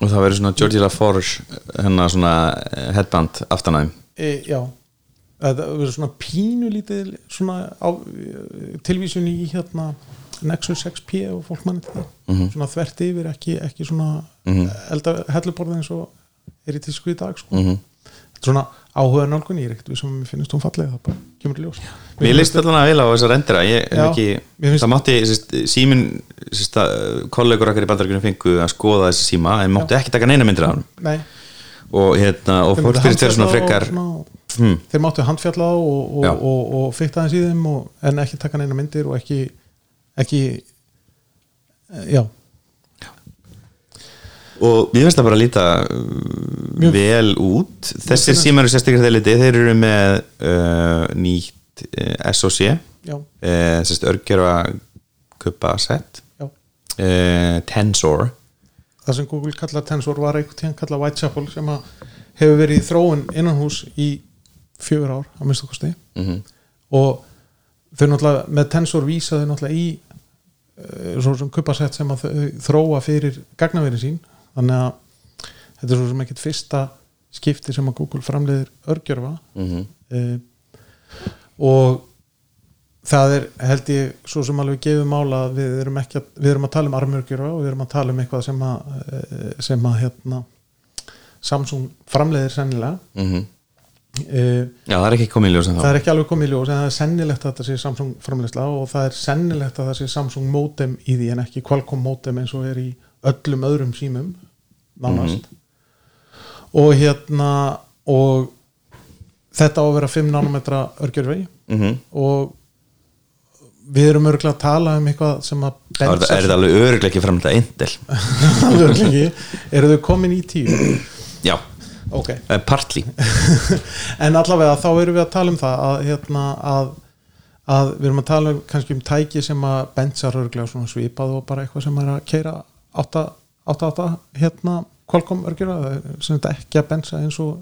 Og það verður svona Georgie LaForge hennar svona eh, headband aftanæðum
e, já það verður svona pínu lítið svona á, e, tilvísun í hérna Nexus 6P og fólk manni þetta
Mhm.
svona þvert yfir, ekki, ekki svona mm
Mhm.
-hmm. helluborðið eins og er í tísku í dag sko.
mm -hmm.
Þetta er svona áhuga nálgun, ég er ekkert við sem mér finnst hún fallega, það bara kemur í ljós
Mér líst allan að vilja á þessar endera Ég hef
Já,
ekki,
mér finnst-
það mátti sérst, símin, sérst, að kollegur okkar í bandaríkunum fengu að skoða þessi síma en mátti ekki taka neina myndir af hann
Nei,
og hérna, og
þeir
fólk
máttu
spyrst þér svona
handfjatla og
frekar
svona-
hmm,
Þeir máttu handfjalla á og, og,
Já.
og, og, og fykta aðeins í þeim og, en ekki taka neina myndir og ekki ekki já,
og mér finnst það bara að líta uh,
Mjög-
vel út þessir símar eru sérstaklega þeir liti þeir eru með uh, nýtt uh, SOC uh,
já,
sérst örgjörfa kuppa set
já
uh, Tensor
það sem Google kallar Tensor var einhvern tíðan kallar Whitechapel sem að hefur verið í þróun innanhús í fjögur ár að minnstu kosti
mm -hmm.
og þau náttúrulega með Tensor vísa þau náttúrulega í eh, svo sem kuppasett sem að þau þróa fyrir gagnaverið sín þannig að þetta er svo sem ekkit fyrsta skipti sem að Google framleiðir örgjörfa uh, og það er held ég svo sem alveg gefið mála að við erum, ekki að, við erum að tala um armurgjörfa og við erum að tala um eitthvað sem að, eh, sem að hérna, Samsung framleiðir sennilega uh,
já það er ekki komið í ljós en þá
það er ekki alveg komið í ljós en það er sennilegt að þetta sé Samsung framleiðsla og það er sennilegt að það sé Samsung modem í því en ekki Qualcomm modem eins og er í öllum öðrum símum nánast og hérna og þetta á að vera 5 nanometra örgjörfi
mm
og við erum örgulega að tala um eitthvað sem að
þá er, það- er það alveg öruglega ekki framlega eindel
[laughs] alveg ekki eru þau komin í tíu
já,
ok
eh, partly
en allavega þá erum við að tala um það að, hérna, að, að við erum að tala um, kannski um tæki sem að bensar örglega svona svipað og bara eitthvað sem er að keira 8-8 hérna Qualcomm örgjara sem þetta ekki að bensa eins og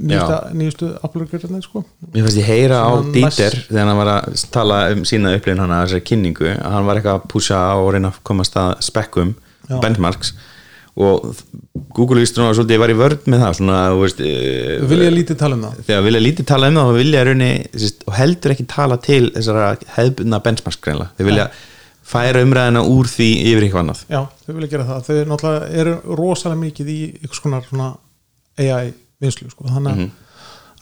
nýjasta, nýjastu Apple örgjara sko.
Mér finnst ég heyra á
Svona næst-
Dieter þegar hann var að tala um sína upplifin hann að þessari kynningu, að hann var eitthvað að púsa á og reyna að komast að spekkum
Já.
benchmarks og Google líst núna svolítið var í vörð með það svona, þú veist, eh,
vil ég lítið tala um það
þegar vilja lítið tala um það þá vilja raunni, sérst, og heldur ekki tala til þessara hefðbundna benchmarks greinlega, þeir vilja færa umræðina úr því yfir eitthvað annað
Já, þau vilja gera það. Þau náttúrulega eru rosalega mikið í einhvers konar svona AI vinslu, sko. Þannig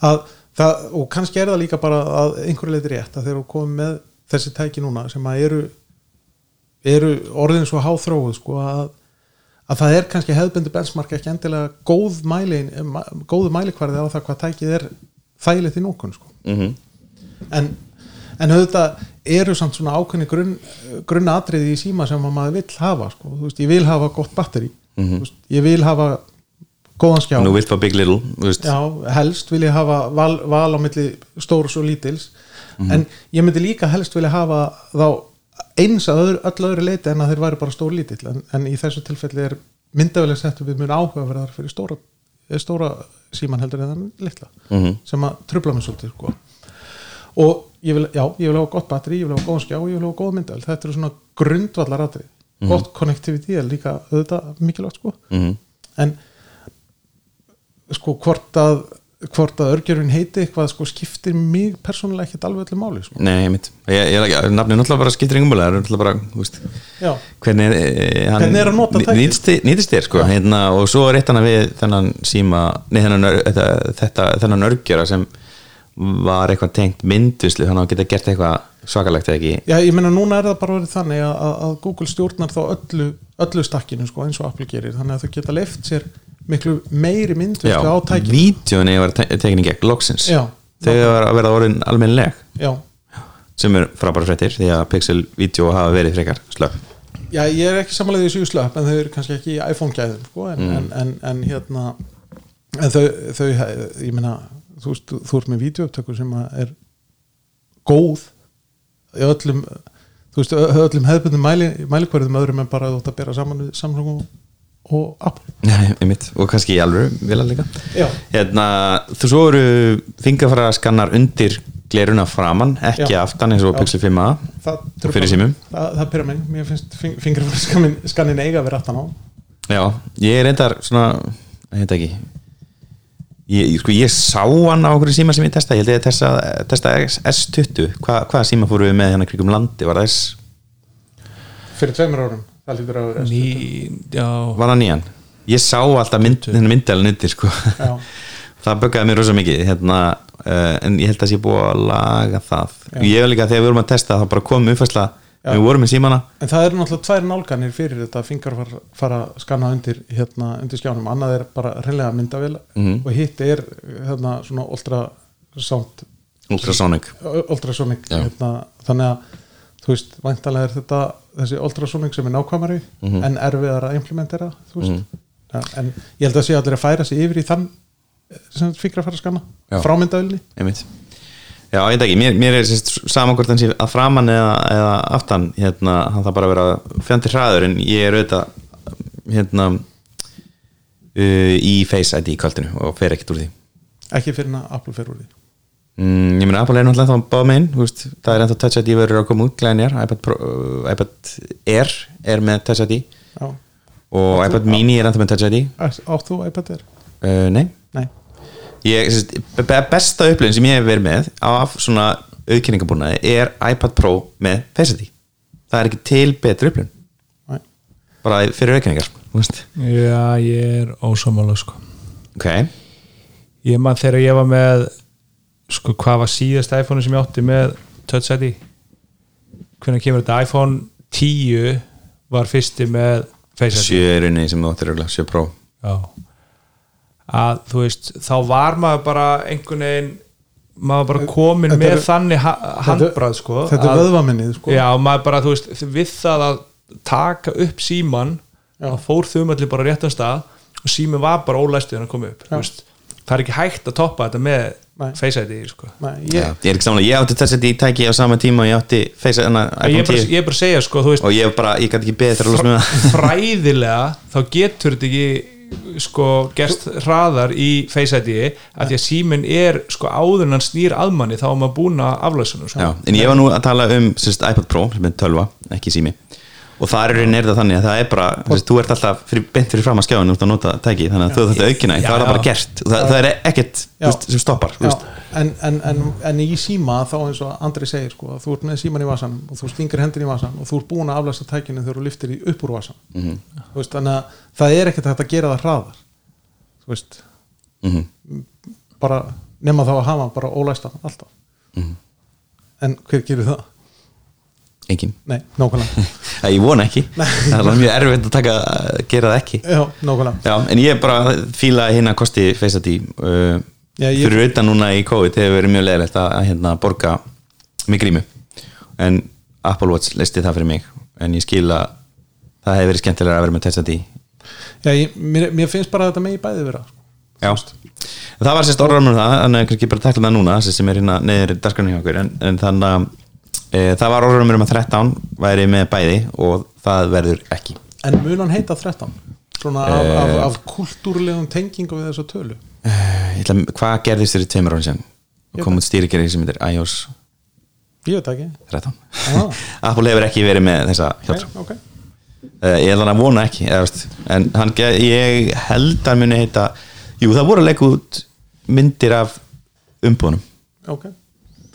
að það, og kannski er það líka bara að einhverju leiti rétt að þeir eru komið með þessi tæki núna sem að eru, eru orðin svo háþróið, sko, að, að það er kannski hefðbundu benchmark ekki endilega góð mæli, góðu mælikvarði á það hvað tækið er þægilegt í nókun, sko
mm
en, en auðvitað eru samt svona ákveðni grunn, grunnatriði í síma sem að maður vill hafa sko. Þú veist, ég vil hafa gott batteri mm veist, ég vil hafa góðan skjá
Nú vilt fá Big Little þú veist,
já, helst vil ég hafa val, val á milli stórs og lítils
Mhm.
en ég myndi líka helst vilja hafa þá eins að öðru, öll öðru leiti en að þeir væri bara stór lítill en, en í þessu tilfelli er myndavælega settum við mun áhugaverðar fyrir stóra, eh, stóra síman heldur en þann litla
Mhm.
sem að trubla mig svolítið sko. og ég vil, já, ég vil hafa gott batteri, ég vil hafa góðan skjá og ég vil hafa góð myndavæl, þetta eru svona grundvallar atrið, gott connectivity er líka auðvitað mikilvægt sko
mhm.
en sko hvort að hvort að örgjörfin heiti eitthvað sko skiptir mig persónulega ekkert alveg öllu máli sko.
Nei, mitt, ég, ég, ég, nafnið náttúrulega bara skiptir yngum búlega, það er náttúrulega bara, þú veist
já,
hvernig, eh, hann,
Hvernig er að nota
ní-
tækið?
nýtist þér- nýtist þér sko hérna, og svo er eitt hana við þennan síma nei, þennan, ör- þetta, þetta, þennan örgjara sem var eitthvað tengt mynduslu þannig að hann geta gert eitthvað svakalegt eða ekki
já, ég meina núna er það bara verið þannig að, að- að Google stjórnar þá öllu, öllu stakkinu sko eins og Apple gerir þannig að þau geta leift sér miklu meiri
já,
myndvörslu á tækinu
vídjóni var te- tekin í gegn loksins
Já.
þegar var að verða orðin almennileg
já,
sem er frábæra fréttir því að pixel-vídjó hafa verið frekar slöf
já, ég er ekki samanlega í sjúslöp en þau eru kannski ekki í iPhone-gæðum sko, en,
Mm.
en, en, en hérna en þau, þau ég meina, þú, veist, þú, þú ert með vídeouptöku sem að er góð í öllum þú veist, ö- öllum hefðbundum mæli, mælikvarðum öðrum en bara þú ætti að bera saman við Samsung og, og Apple
einmitt, og kannski í alvöru vilja líka
Já.
hérna, þú svo eru fingrafara skannar undir gleruna framann, ekki
Já.
aftan eins og
Já.
Pixel 5a
það,
Og fyrir símum?
það, það pyrra mig, mér finnst fingrafærskannin eiga að vera aftan á
já, ég er reyndar svona, hérna ekki ég, sko, ég sá hann á okkur síma sem ég testa, ég held ég að testa, testa S- S20, Hva, hvaða síma fóru við með hérna krigum landi, var það S
fyrir tveimur árum, það lítur að vera
ný, já,
var það nýjan, ég sá alltaf mynd, hérna myndalinn undir sko
Já.
það böggaði mér rosa mikið hérna, uh, en ég held að sé búið að laga það ég hef líka þegar við vorum að testa það bara kom umfærsla, við vorum með símana
En það eru náttúrulega tvær nálganir fyrir þetta að fingar fara, fara að skanna undir, hérna, undir skjánum, annað er bara reynlega myndavél
Mhm.
og hitt er hérna, svona ultrasound
ultrasonic
ultrasonic
Já.
hérna, þannig að þú veist, væntalega er þetta þessi ultrasonic sem er nákvæmari
Mhm.
en erfiðar að implementera þú veist, ja, en ég held að sé allir að færa sig yfir í þann sem fingar að fara að skanna
Já.
frá myndavilni
einmitt Já, ég veit ekki, mér, mér er sérst saman hvort hann sé að framan eða, eða aftan hérna, hann það bara að vera fjandi hraður en ég er auðvitað hérna uh, í Face ID í kvöldinu og fer ekkert úr því
ekki fyrir að Apple fer úr því
mm, Ég meina, Apple er náttúrulega þá báð megin þú veist, það er ennþá Touch ID verður að koma út glænjar, iPad, Pro, uh, iPad Air er með Touch ID
Já.
og iPad Mini er ennþá með Touch ID
Átt þú iPad Air?
uh, Nei,
Nei
ég, sérst, be- besta upplifin sem ég hef verið með af svona auðkynningabúnaði er iPad Pro með Face ID það er ekki til betri upplifin
Nei.
bara fyrir auðkynningar þú veist.
já, ég er ósámála sko
ok,
ég man þegar ég var með sko hvað var síðast iPhone sem ég átti með Touch ID hvernig kemur þetta iPhone 10 var fyrsti með Face E ID
sjörinni sem þú áttir örugglega, sjö Pro
já. að þú veist þá var maður bara einhvern veginn maður bara komin
Þetta
með
eru-
þannig ha handbrað sko,
þetta er
að-
vöðvaminnið sko
já, maður bara, þú veist, við það að taka upp síman
Já.
þá fór þumalli bara á réttan stað og símin var bara ólæstu en að koma upp þú veist, það er ekki hægt að toppa þetta með
Nei.
Face ID sko.
Nei,
Já,
ég,
ég er ekki samanlega, ég átti þessi í tæki á sama tíma og ég átti face, hana,
ég er
iPhone
bara,
10
ég er bara að segja sko, þú veist,
og ég bara, ég gæti ekki beðið þegar að losna með
[laughs]
það
fræðilega þá getur þetta ekki sko gerst hraðar í Face ID að því að síminn er sko áður en hann snýr að manni þá er maður búin að aflæsunum sko.
Já, en ég var nú að tala um sérst, iPad Pro sem er tölva, ekki sími og það er reynir það þannig að það er bara sérst, þú ert alltaf fyrir, beint fyrir fram að skjáinu út að nota tæki, þannig að þú þetta aukina
Já,
það er það bara
já.
gert, það, það er ekkert þú
Já.
veist, sem stoppar, þú
já,
veist
en, en, en, en í síma þá eins og Andri segir sko að þú ert með síman í vasanum og þú stingir hendin í vasan og þú ert búin að aflæsta tækinu þegar þú liftir í upp úr vasan mm
Mhm.
-hmm. veist, þannig að það er ekkert hægt að gera það hraðar þú veist
mm
bara nema þá að hafa hann bara ólæsta alltaf
Mhm.
en hver gerir það?
engin,
Nei,
[laughs]
nákvæmlega
það ég vona ekki það er alveg mjög erfitt að taka, að gera það ekki
Já, nákvæmlega
Já, en ég bara fíla hérna kosti Face ID uh,
Já, ég-
fyrir utan núna í COVID hefur verið mjög leðilegt að, að hérna, borga með grímu en Apple Watch listi það fyrir mig en ég skil að það hefur verið skemmtilega að vera með Touch ID
Já, ég, mér, mér finnst bara að þetta megi bæði vera sko.
Já, það var sérst orðan um það þannig að kannski bara takla það núna þessi sem er hérna neður dagskarni hjá okkur en, en þannig að e, það var orðan um að 13 væri með bæði og það verður ekki
En mun hann heita 13? Svona af, af, af kultúrlegum tengingu við þessa tölu
Eh, ég ætla, Hvað gerðist þér í tveimur árum sér?
Ég-
Komum stýrikerið sem heitir iOS
Ég veit það ekki
13
Ah.
[laughs] Apple hefur ekki verið með þessa hjálpsum
Nei, okay.
uh, ég held hann að vona ekki eða, veist, en hann, ge- ég held hann muni heita jú það voru að leika út myndir af umbúðunum
ok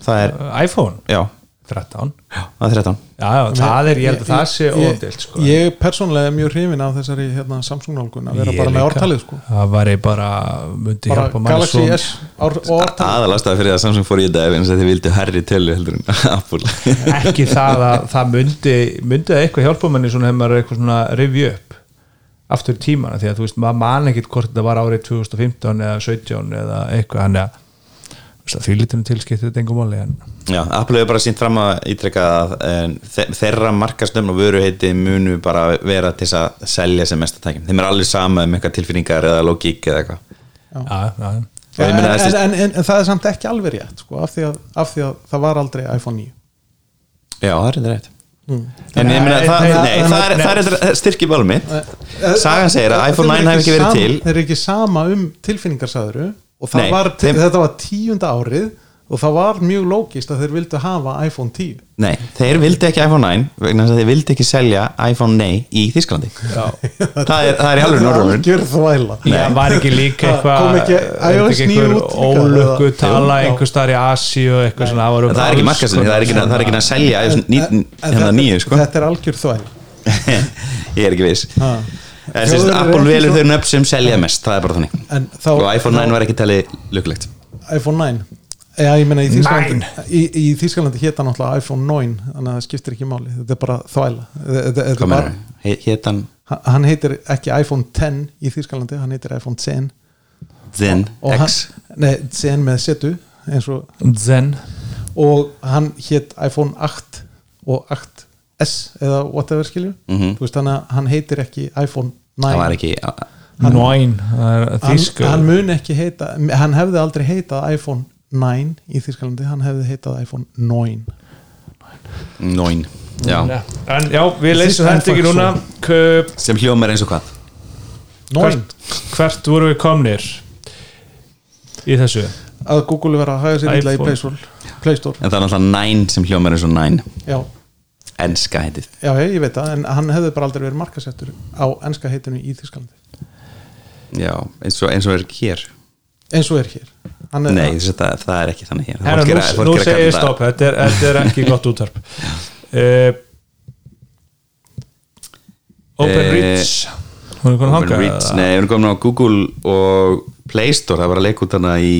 það er,
Uh, iPhone
já,
13 já,
það er 13
já, það er, ég held að það sé
Ég-
ódilt sko.
Ég persónlega er mjög hrifin af þessari hérna, Samsung-nálgun að vera
Ég
bara með
líka.
ortalið sko.
það var ég bara myndi
bara
hjálpa manni
Galaxy
svo
S ár, og ortalið
aðalastað fyrir að Samsung fór í þetta er eins að þið vildu herri tölu heldur en [laughs] Apple
[laughs]
ekki það að það myndi myndi það eitthvað hjálpa manni svona hefur maður er eitthvað svona review upp aftur í tímana því að þú veist maður man ekkit hvort þetta var árið 2015 eða 17 eða eitthvað hann eða því lítinu tilskiptir þetta engum máli en
Já, Apple hefur bara sínt fram að ítrekka að en, þe þeirra markastöfn og vöruheiti munu bara vera til þess að selja sem mesta tækjum. Þeim er alveg sama um eitthvað tilfinningar eða logík eða eitthvað.
já,
Og ég
já,
en,
meina,
en,
þessi-
en, en, en það er samt ekki alveg rétt sko, af, því að, af því að það var aldrei iPhone 9
Já, það er þetta rétt. En ég meina,
Nei,
það,
nei,
nei,
Mm. nei,
það, er,
nei.
það er þetta styrkir bálum mitt. Sagan segir að
Þeir
iPhone
eru
9 hafi ekki verið
sama-
til.
Eh, Þeir eru ekki sama um tilfinningarsæðuru og það
Nei,
var,
þeim-
þetta var tíunda árið og það var mjög lógist að þeir vildu hafa iPhone 10
Nei, þeir vildi ekki iPhone 9 vegna þess að þeir vildi ekki selja iPhone 9 í Þísklandi. Það er, það er í alveg norðurinn.
Gjör þvæla
já, var ekki líka
Kom
eitthvað
ekki iOS 9 út líka,
ólöku
eða?
tala
Jú.
einhver staðar í Asi og eitthvað svona var
Það er ekki markastöfn, það er ekki það er ekki að selja
En-
ný-
en- en
hérna
þetta-
nýju, sko.
Þetta er algjör þvæla
[laughs] Ég er ekki viss.
Ha.
En sem sagt,
Þjóðverjar eru
Apple
ekki
velur
svo-
þau nöfn sem selja mest, það er bara þannig.
En þá-
og iPhone 9 var ekki talið lukkulegt.
iPhone 9 Já, ég meina í Þískalandi í, í Þískalandi hétta náttúrulega iPhone 9 þannig að það skiptir ekki máli, þetta er bara þvæla þetta, þetta, þetta
Hvað
er bara,
meður? Hétt hann
hann- hann heitir ekki iPhone 10 í Þískalandi, hann heitir iPhone 10
Zen X?
og hann, nei, 10 með setu eins og,
Zen
og hann hétt iPhone 8 og 8S eða whatever skilju
Mhm.
þú veist þannig að hann heitir ekki iPhone
Það
9
var ekki
Noin
hann,
Þísku
hann mun ekki heita hann hefði aldrei heitað iPhone 9 í Þískalandi, hann hefði heitað iPhone 9
Nóin Já.
en já, við leysum
Þýskan
þetta ekki
fólk,
núna Kup
Sem hljómar eins og hvað
Nóin,
hvert, hvert voru við komnir í þessu
að Google vera að haga sér illa í
iPhone.
Play Store, Play Store.
En það er náttúrulega næn sem hljómar eins og næn
Já,
Enska heitið
já, ég veit það en hann hefði bara aldrei verið markasettur á enska heitinu í Þískalandi
Já, eins og, eins og er hér
eins og er hér Hann er-
Nei, þess að það, það er ekki þannig hér
Herra,
Fólk
nú,
er að- fólk
nú
er að
segir
kalla
ég stopp, þetta er, þetta er ekki gott útvarp uh, Open
Eh,
Reach Hún er konar
Open
hangað
Reach. Nei, við erum komin á Google og Play Store Það var að leika út hana í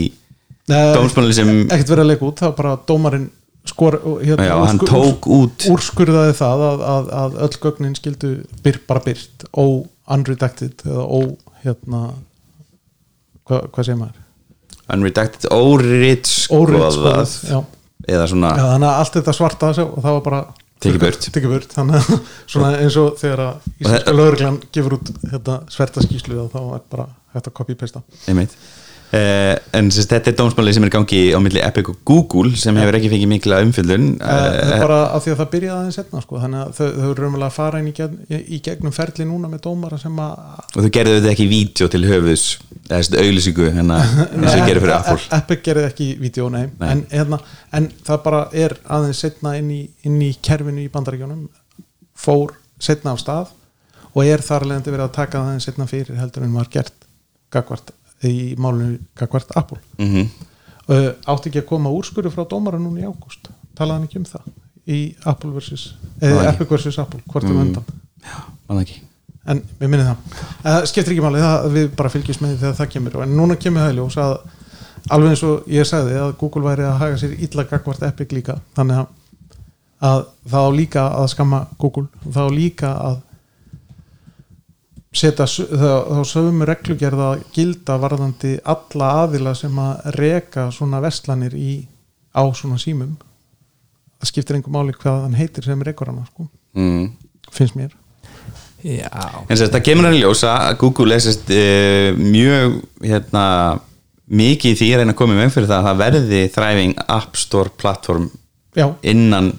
Eh,
Nei,
Dómsmálin sem
ekkert verið að leika út, það var bara dómarinn skor,
eh,
hérna,
Já,
sko-
hann tók út
úrskurðaði það að, að, að öll gögnin skildu byr, bara byrt ó unredacted eða ó hérna hva, hvað segir maður
unredacted, óritskoðað
Óritskoðað, já.
eða svona
Já, þannig að allt þetta svarta sem- og það var bara
Tekið burt.
Tekið burt, þannig að [laughs] svona eins og þegar að íslenska lögreglan gefur út þetta sverta skýslu þá er bara hægt að copy-pasta
einmitt Uh, en sérst, þetta er dómsmálið sem er í gangi á milli Epic og Google sem
Eh.
hefur ekki fengið mikla umfyllun
Það
uh,
er Eh, bara af því að það byrjaði aðeins setna sko, þannig að þau, þau eru raunverulega að fara inn í, gegn, í gegnum ferli núna með dómara sem að
og þú gerðu þetta ekki í vídeo til höfuðs eða sérst, auðlýsingu
[laughs]
hérna eins og þú gerir fyrir Apple
E- Apple gerði ekki vídeo, nei,
Nei.
En, hérna, en það bara er aðeins setna inn í, inn í kerfinu í bandaríkjónum fór setna af stað og er þar leðandi verið að taka það aðeins setna fyrir heldur en var gert gagvart, í málinu gagvart Apple
mm
uh, átti ekki að koma úrskurðu frá dómara núna í ágúst talaði hann ekki um það í Apple versus,
Nei.
eða Apple versus Apple hvort um
Mm.
undan
mann ekki
en við minnum það uh, skiptir ekki máli, það, við bara fylgjumst með því þegar það kemur en núna kemur það í ljós að alveg eins og ég sagði að Google væri að haga sér illa gagvart Epic líka þannig að, að það á líka að skamma Google það á líka að setja s- þá þá sögum reglugerða að gilda varðandi alla aðila sem að reka svona vestlanir í, á svona símum það skiptir einhver máli hvað hann heitir sem rekur hana sko,
mm.
finnst mér
já,
en sérst, það kemur hann í ljós að Google er sérst, uh, mjög hérna, mikið í því að reyna að koma í veg fyrir það að það verði þræfing App Store plattform
já,
innan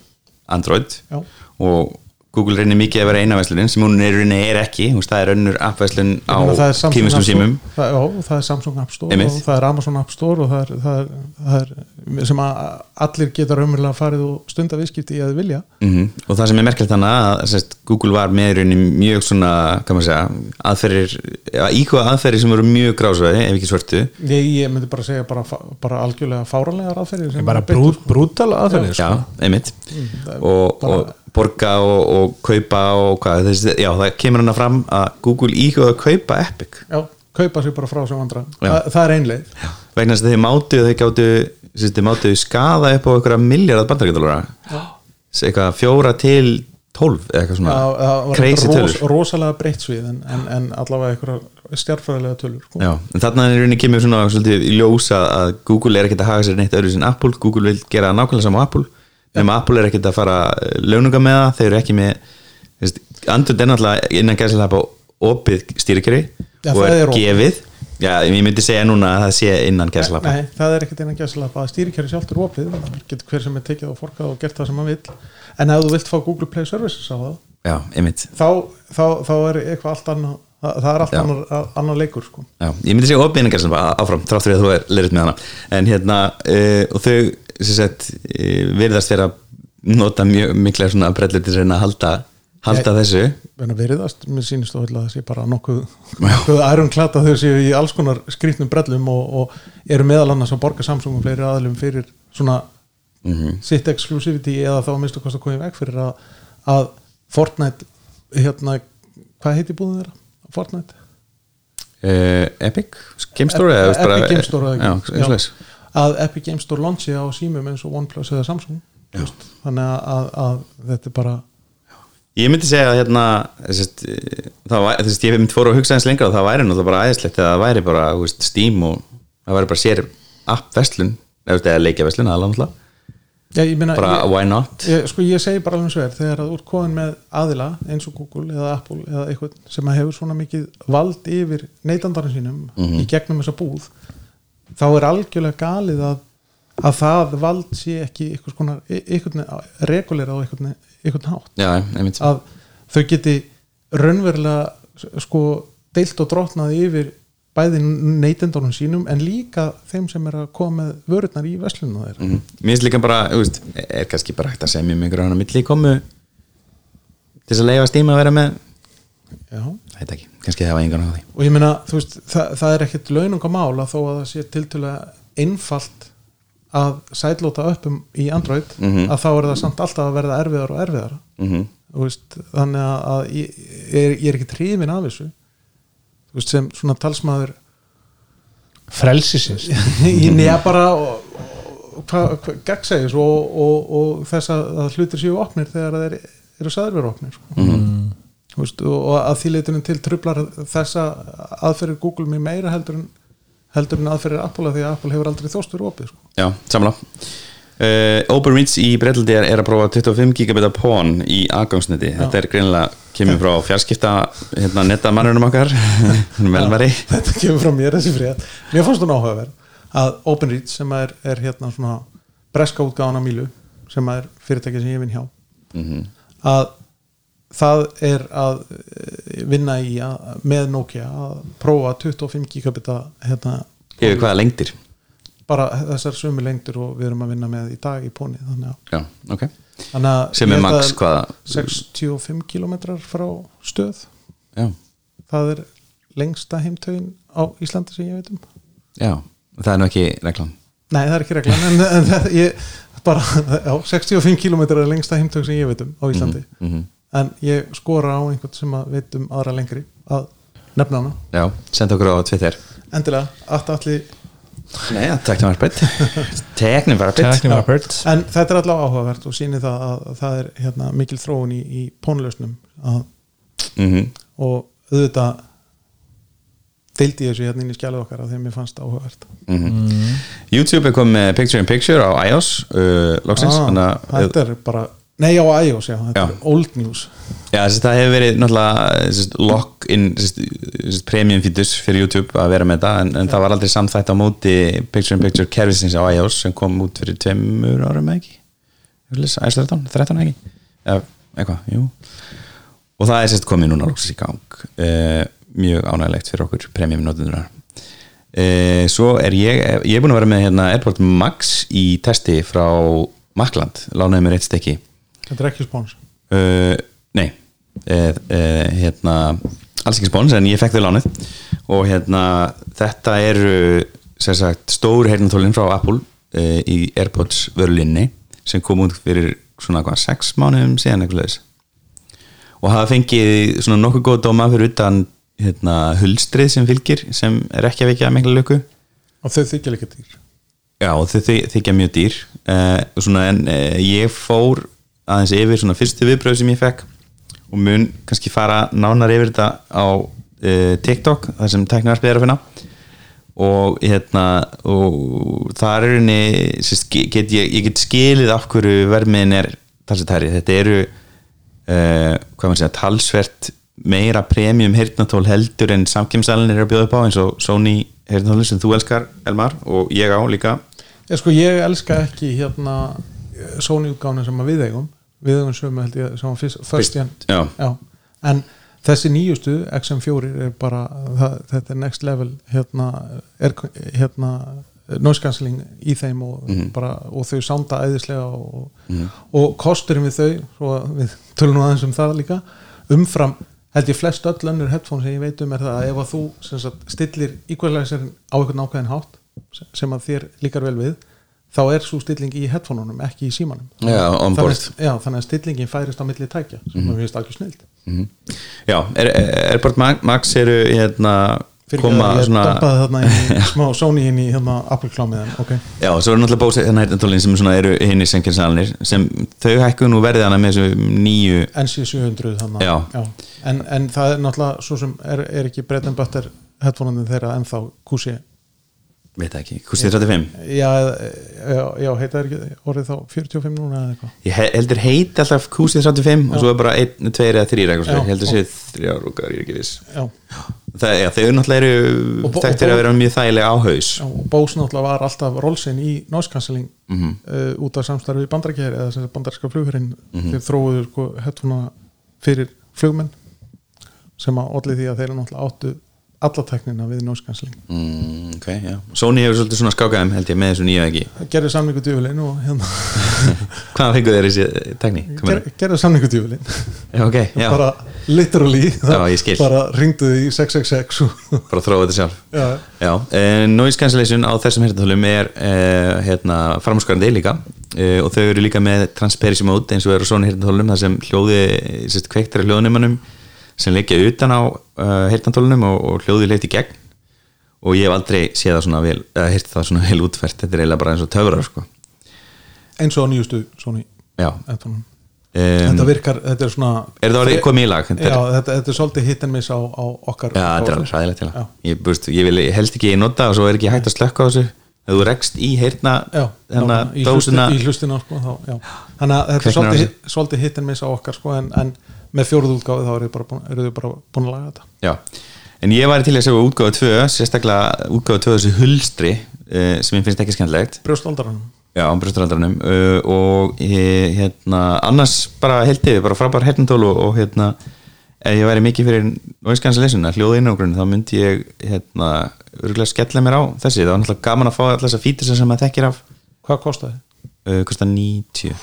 Android
já
og Google reynir mikið að vera eina verslunin sem hún er, rauninni er ekki, þú veist, það er önnur appverslun á
Ég meina, það er Samsung
tímistum
App Store,
símum
það, já, og það er Samsung App Store
Einmitt.
og það er Amazon App Store og það er, það er, það er sem að allir geta raunverulega farið og stunda viðskipti í að þið vilja
Mm
Mhm.
og það sem er merkilegt þannig að sérst, Google var með í rauninni mjög svona hvað maður segja, aðferðir að íkvað aðferðir sem voru mjög grásvæði ef ekki svörtu
ég, ég myndi bara segja bara, fa- bara algjörlega fáranlega ráðferðir sem
bara
er beitt,
brú, brútal aðferðir
já,
sko.
einmitt
Mm,
og, og borga og, og kaupa og hvað, þessi, já, það kemur hana fram að Google íkvað að kaupa Epic
já, kaupa sér bara frá sem andra
Já.
það, það er einleið
vegna þess að þeir mátu þeir gáttu, sérst, þeir mátu skaða upp á einhverja miljardar bandarækjadólara eitthvað fjóra til tólf eða eitthvað svona
það það var
crazy
reyndar
tölur
rosalega breytt svið en, en, en allavega einhverja stjárfræðilega tölur sko.
Já, en þarna er í rauninni kemur svona svolítið í ljós að, að Google er ekkert að haga sér neitt öðru sem Apple, Google vil gera nákvæmlega saman Apple, nema Apple er ekkert að fara lögninga með það, þeir eru ekki með þú veist, Android er náttúrulega innan gæslega bara opið stýrikeri
Já,
og
það
er,
er opið.
gefið Já, ég myndi segja núna að það sé innan gæslega
Nei, það er ekkert innan gæslappa að stýrikerfi sjálft er opið, það getur hver sem er tekið og forkað og gert það sem hann vill, en ef þú vilt fá Google Play Services á það,
Já, einmitt
þá, þá, þá er eitthvað allt annað það, það er allt
Já.
annar, annar leikur sko.
Já, ég myndi segja opið innan gæslega áfram, þrátt fyrir að þú er lerið með hana en hérna, uh, og þau sem sagt, uh, virðast vera að nota mjög mikla svona brellur til að reyna að halda, halda þessu
en að veriðast, mér sýnist og að það sé bara
[laughs]
nokkuð, nokkuð ærumklata þau séu í alls konar skrýtnum brellum og, og eru meðal annars að borga Samsung og fleiri aðlum fyrir svona
Mhm.
sitt exclusivity eða þá að minnstu kost að koma í veg fyrir að, að Fortnite hérna, hvað heiti búðin þeirra? Fortnite?
uh, Epic Game Store eða, þú veist,
Epic
bara-
Game Store eða
já,
ekki?
eins og þess
að Epic Game Store launchi á símum eins og OnePlus eða Samsung
Já.
Just, þannig að, að, að þetta er bara
ég myndi segja að hérna þessist, það væri, þessist, ég myndi fóru að hugsa eins lengra og það væri náttúrulega bara æðislegt eða það væri bara þú veist, Steam og það væri bara sér app verslun eða, þú veist, eða leikja verslun aðalega náttúrulega.
já, ég meina,
bara
ég,
why not
ég, sko ég segi bara alveg sver þegar að þú ert komin með aðila eins og Google eða Apple eða eitthvað sem að hefur svona mikið vald yfir neytandarinn sínum í gegnum þessa búð þá er algjörlega galið að að það vald sé ekki eitthvað konar, eitthvað regulera á eitthvað, eitthvað hátt
já, einmitt
að þau geti raunverulega sko deilt og drotnað yfir bæði neytendunum sínum en líka þeim sem er að koma með vörurnar í veslunum þeirra
Mhm. mér finnst líka bara, þú veist, er kannski bara hægt að semja um einhverja hann að milli komu til þess að leifa Steam að vera með
Já.
það heit ekki, kannski það var einhvern á því
og ég meina, þú veist, það, það er ekkit launungamál að þó að það sé tiltölulega einfalt að sætlóta upp um í Android
Mhm.
að þá er það samt alltaf að verða erfiðar og erfiðara
mm
Þú veist, þannig að, að ég, ég er, ég er ekki trífin af þessu Þú veist, sem svona talsmaður
frelsisins
[laughs] í nýja bara og- og- hvað hva, gegnsæðis og, og, og þess að, að hlutir séu opnir þegar þeir eru saður vera opnir sko. Þú veist, og, og að því leitinu til trublar þessa aðferðir Google mér meira heldur en heldur en aðferðir Apple af því að Apple hefur aldrei þóst fyrir opið sko.
Já, samla uh, Openreach í Breitlandi er, er að prófa 25 gigabita pón í aðgangsneti Þetta er greinilega, kemur frá fjarskipta hérna netta mannunum okkar [laughs] Melmari
[laughs] þetta kemur frá mér þessi frétt mér fannst hún áhugaverð að OpenReach sem er, er hérna svona breska útgáðan af Mílu sem er fyrirtæki sem ég vinn hjá
Mhm.
að það er að eh, vinna í að, með Nokia að prófa 25 gigabita hérna,
Yfir hvaða lengdir
bara þessar sömu lengdur og við erum að vinna með í dag í póni þannig að,
Já, ok
þannig að
Sem er
ég held
max
að
hvaða?
65 kilometrar frá stöð
Já,
það er lengsta heimtögin á Íslandi sem ég veit um
já, það er nú ekki reglan
Nei, það er ekki reglan en, en það, ég, bara, já, 65 km er lengsta heimtök sem ég veit um á
Mhm.
Íslandi en ég skora á einhvern sem að veit um aðra lengri að nefna hana
Já, senda okkur á Twitter
endilega, allt allir
Nei, já, teknum [laughs] arbeitt Teknum arbeitt
Technical Bird
en þetta er allavega áhugavert og sýnir það að, að það er hérna, mikil þróun í, í pónlausnum að,
Mhm,
og auðvitað deildi ég þessu hérna inn í skjælið okkar að því að mér fannst það áhugavert
mhm. YouTube er komið með Picture in Picture á iOS uh, Loksins,
Ah,
þannig að
þetta er bara, nei á iOS já,
Já.
þetta er old news
Já, þessi, það hefur verið náttúrulega þessi, lock in þessi, þessi, premium features fyrir YouTube að vera með þetta en, en það var aldrei samþætt á móti picture in picture kerfisins á iOS sem kom út fyrir tveimur árum eða ekki iOS 13, 13 eða ekki eða eitthvað, jú og það er sérst komið núna lóksins í gang uh, mjög ánægilegt fyrir okkur premium notendurar uh, svo er ég, ég er búin að vera með hérna Airport Max í testi frá Makland, lánaði mér eitt stekki
þetta er ekki spóns
uh, nei uh, uh, hérna alls ekki spóns en ég fekk þau lánuð og hérna þetta eru sem sagt stóru heyrnatólin frá Apple uh, í Airpods vörulinni sem kom út fyrir svona hvað sex mánuðum síðan eitthvað leðis og hafa fengið svona nokkuð góð dóma fyrir utan hérna hulstrið sem fylgir sem er ekki að vekja mikla löku
og þau þykja líka dýr
Já, þau þy- þykja mjög dýr uh, svona, en uh, ég fór aðeins yfir svona fyrstu viðbröð sem ég fekk og mun kannski fara nánar yfir þetta á uh, TikTok, þar sem teknivarpið er að finna og hérna og þar er henni sérst, ge- get ég, ég get skilið af hverju vermiðin er talsvert herri þetta eru uh, hvað maður segja, talsvert meira premium heyrnatól heldur en samkjæmsalinn er að bjóða upp á eins og Sony heyrnatólinn sem þú elskar Elmar og ég á líka
Ég, sko, ég elska ekki hérna Sony útgána sem að við eigum við eigum sömu held ég sem að fyrst, fyrst, fyrst
já.
en þessi nýjustu XM4 er bara það, þetta er next level hérna, er, hérna noise cancelling í þeim og, bara, og þau sanda æðislega og,
Mhm.
og kosturum við þau svo að við tölum nú aðeins um það líka umfram held ég flest öll önnur headphone sem ég veit um er það að ef að þú sem sagt, stillir equalizerinn á einhvern ákveðin hátt sem- sem að þér líkar vel við þá er svo stilling í headphoneunum ekki í símanum
Já, on board. Mhm.
þannig, að- já, þannig að stillingin færist á milli tækja sem mm -hmm. finnst algjör snild
já er, er, Airport Ma- Max eru hérna
fyrir
koma
að ég
svona
dompaði þarna
[laughs]
í smá Sony inn í hérna Apple klámiðan ok,
Já, svo eru náttúrulega bósið hérna heyrnatólinn sem svona eru hinn í samkjæmsalinir sem þau hækkuð nú verðið hana með þessu nýju
NC700 þarna
Já.
En, en það er náttúrulega svo sem er, er ekki brettan böttar headphoneunum þeirra ennþá kúsi
veit það ekki, kursið 35
já, já, já heita er ekki orðið þá 45 núna eða eitthvað
ég he- heldur heiti alltaf kúsið 35 og svo er bara 1, 2 eða 3 eitthvað
Já,
svoleiðis. heldur
og-
séu 3 ára og hvað ég er ekki viss
já,
það, já, þau náttúrulega eru
Og bó-
þekktir
og bó-
að vera mjög þægilega á haus
já, og Bose náttúrulega var alltaf rollsinn í noise cancelling uh, út af samstarfi í bandarækjæri eða sem sagt bandarækska flugurinn mm
Mhm.
þeir þróuðu sko headphonea fyrir flugmenn sem að olli því að þeir náttúrulega áttu allateknina við noise cancelling mhm,
mm, ok, já Sony hefur svolítið svona skákaðum held ég með þessu nýju ekki
gerði samningu djúvilinn og hérna
hvað fengur þeir í þessi tekni?
ger, gerði samningu djúvilinn
já, ok, [laughs] já, bara,
bara literally
Já, ég skil.
bara ringduði í 666 og, [laughs]
þróa þetta sjálf
já,
Já, uh, noise cancellation á þessum herðatölum er uh, hérna, framúrskarandi líka uh, og þau eru líka með transparency mode eins og eru svona herðatölum þar sem hljóði sérst, kveiktar í hljóðnumanum sem leikja utan á uh, herðatölunum og, og hljóði leitt í gegn og ég hef aldrei séð það svona vel eða heyrt það svona vel útfært, þetta er eiginlega bara eins og töfrar sko.
eins og á nýjustu Sony
Já,
headphone
um,
þetta virkar, þetta er svona
Er það orðið komið í lag?
já, þetta, þetta er svolítið hit and miss á, á okkar
Já, þetta er alveg sæðilegt til það ég, búst, ég vil ég helst ekki nota og svo er ekki hægt að slökka á þessu ef þú rekst í heyrna
já,
þannig
nákvæmlega, í,
að dósina
hlusti, í hlustina sko, þá, já. þannig að þetta
Kveiknar
er
á
svolítið, svolítið hit and miss á okkar sko, en, en með fjóruð útgáfi þá eru þið bara, búin- eru þið bara búin að laga þetta
Já, en ég væri til í að segja útgáðu 2 sérstaklega útgáðu 2 þessu hulstri uh, sem ég finnst ekki skemmtilegt
brjóstaldarann
Já, á brjóstaraldarunum uh, og eh, hérna, annars bara held ég bara frábær hernatól og, og hérna ef ég væri mikið fyrir nóinskansalesuna hljóða innogrun, þá myndi ég hérna, örgulega skella mér á þessi það var náttúrulega gaman að fá alltaf þessa fítur sem maður þekkir af
hvað kostaði?
uh, kosta 90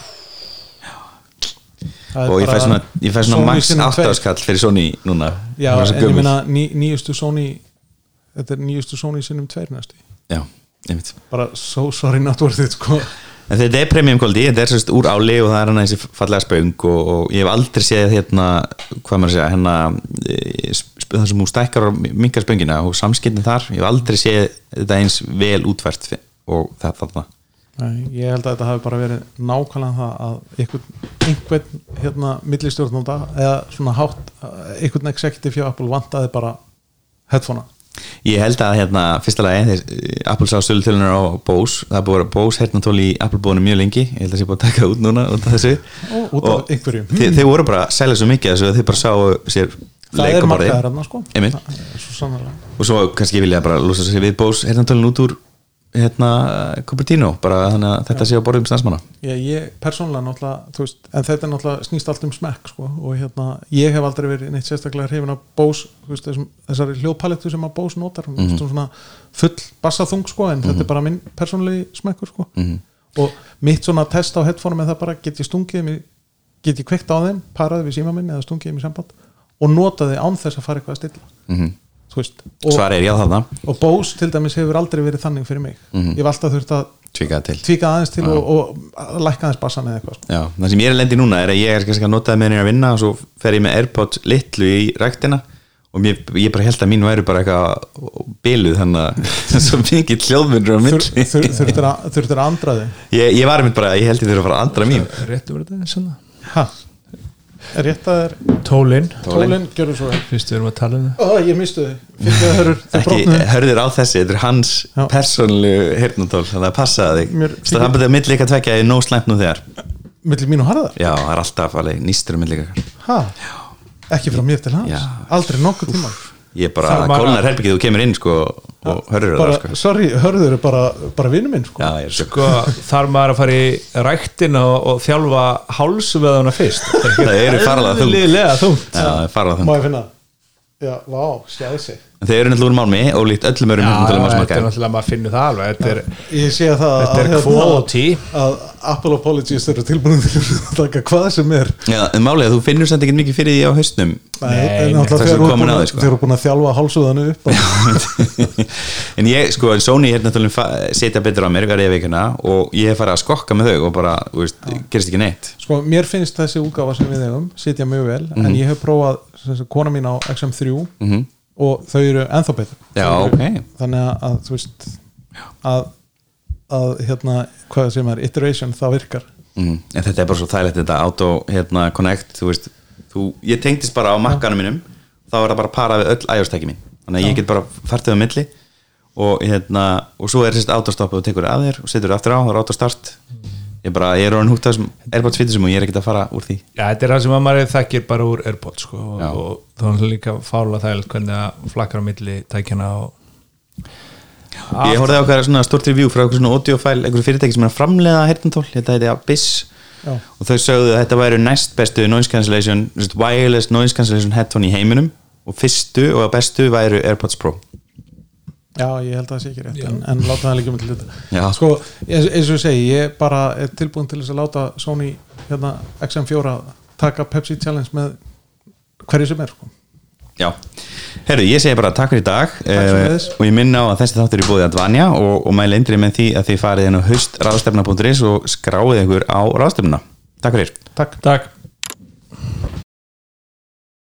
Það er
og ég fæ
bara-
svona, ég fæ svona
Sony
max
sinnum tveir.
8 skall fyrir Sony núna
já,
Hún er
en
svo
ég
gömul.
meina ný, nýjustu Sony þetta er nýjustu Sony sinnum tveir næstu
já, einmitt
bara so sorry not worth it sko.
En þetta er premium kvöldi, þetta er sérst úr áli og það er hann þessi fallega spöng og, og ég hef aldrei séð hérna, hvað maður að segja hérna, e, sp- það sem hún stækkar og minkar spöngina og samskiptin þar ég hef aldrei séð þetta eins vel útvært fi- og það þarna
Nei, ég held að þetta hafi bara verið nákvæmlega það að einhvern, einhvern hérna millistjórnanda eða svona hátt, einhvern executive hjá Apple vantaði bara headphonea
Ég held að hérna, fyrsta lagi, þeir, Apple sá sölutölunir á Bose, það er búið að vera Bose hérna tól í Apple búinu mjög lengi, ég held að það sé búið að taka það út núna út af þessu
Ó, út af
Og
einhverjum.
þeir, þeir voru bara að selja svo mikið þessu að þeir bara sáu sér
það er
leikaborðið.
markaðar hann sko
Einmitt.
Það er svo sannarlega
og svo kannski vilja bara lúsa sér við Bose hernatölin út úr hérna Cupertino, bara þannig að þetta sé á borðum stansmanna.
ég, ég persónlega náttúrulega, þú veist, en þetta er náttúrulega snýst allt um smekk sko og hérna ég hef aldrei verið neitt sérstaklega hrifin af Bose þú veist, þessum, þessari hljóðpalettu sem að Bose notar mm -hmm. svona full bassaþung sko en þetta er bara minn persónlegi smekkur sko -hmm. og mitt svona test á headphone er það bara get ég stungið mig get ég kveikt á þeim, paraði við síma minn eða stungið þeim í samband og notaði án þess að fara eitthvað að stilla mm -hmm. veist, og,
Svar er já þarna,
og Bose til dæmis hefur aldrei verið þannig fyrir mig ég hef alltaf þurft að
tvíkað til.
tvíka aðeins til og, og lækka aðeins bassan eða eitthvað sko.
Já, það sem ég er að lendi núna er að ég er kannski að nota það með henni að vinna og svo fer ég með Airpods litlu í ræktina og mér, ég bara held að mín væri bara eitthvað biluð þannig að [laughs] það er svo mikið hljóðmunur á milli.
Þur- þurftir að- þurftir að andra þig
Ég, ég var einmitt bara, ég held ég þurfa að fara að andra mín.
réttu verið þetta svona
ha. er rétt að þér
tólin,
tólinn, gjörðu svo vel
fyrst við erum að tala um það
Ó, ég mistu þig, fyrir það hörur þau
Ekki, eh.
brotnuðu.
hörður á þessi, þetta er hans
Já.
persónlu hernatól, þannig að passa þig.
Mér-
Stafnbæðið að milli eitthvað tvekja er nóg slæmt nú þegar.
milli mín og harðar
Já, það er alltaf alveg nýstur um millikakar
ha. ekki frá mér til hans
Já.
aldrei nokkuð tíma
Ég er bara,
Það er bara-
kólnar herbyggið þú kemur inn sko og hörður það sko
bara, sorry, hörður er bara, bara vinnu minn sko.
Já, ég er sko
sko þarf maður að fara í ræktina og, og þjálfa hálsveðuna fyrst
Það eru farlega þungt Já,
eðlilega þungt
það er farlega
má
þungt
ég finna það? já, vá, sjáðu sig
En Þeir eru náttúrulega úr málmi og líkt öllum örum
Já,
hernatólum á
þetta er
smakka
náttúrulega maður finnur það alveg þetta er,
ég sé að það
þetta
að,
er
hérna,
quality
að Apple Apologies eru tilbúin til að taka hvað sem er
Já, en málið er að þú finnur samt ekkert mikið fyrir því á haustnum
Nei, en
þess
náttúrulega
að
þegar þú
komin
ert búin
að
að-
því, sko.
þegar þú eru búin að þjálfa hálsöðanu upp og,
[laughs] En ég, sko, en Sony hernatólum setja betur á mér verið vikuna og ég hef farið að skokka með þau og bara, þú veist, gerist ekki neitt
sko, mér finnst þessi útgáfa sem við eigum sitja mjög vel, en
Mhm.
ég hef prófað sem sagt, kona mín á XM3 og þau eru ennþá betur
Já,
Þau eru-
ok.
þannig að, að þú veist að, að hérna, hvað sem er iteration, það virkar
mm. en þetta er bara svo þægilegt þetta auto hérna, connect, þú veist þú, ég tengdist bara á makkanum mínum þá er það bara að para við öll iOS-tæki mín þannig að ég get bara fært þau á milli og, hérna, og svo er sérst autostopp og þú tekur að þér og setur þau aftur á, það er autostart ég bara, ég er orðin húgt af þessum Airpods fittisum og ég er ekkert að fara úr því
Já, þetta er það sem að maður þekkir bara úr Airpods sko, og,
Já.
og þá er náttúrulega líka fála þægilegt hvernig það flakkar á milli tækjana og
ég horfði á okkar svona stort review frá einhver svona audiofæl, einhver fyrirtæki sem er að framleiða hertantól, þetta heiti Abyss
Já.
og þau sögðu að þetta væri næst bestu noise cancellation, þú veist, wireless noise cancellation headphone í heiminum og fyrstu og bestu væru AirPods Pro
Já, ég held að það sé ekki rétt en, en láta það líka með til
Já.
þetta sko, eins, eins og ég segi, ég bara er tilbúin til þess að láta Sony hérna, XM4 taka Pepsi Challenge með hverju sem er sko.
Já, herru, ég segi bara takk fyrir í dag Eh,
sömuleiðis.
og ég minna á að þessi þáttur er búið að dvanja og, og mæli endri með því að þið farið inn á haustraðstefna.is og skráið ykkur á ráðstefnuna. Takk fyrir.
Takk
Takk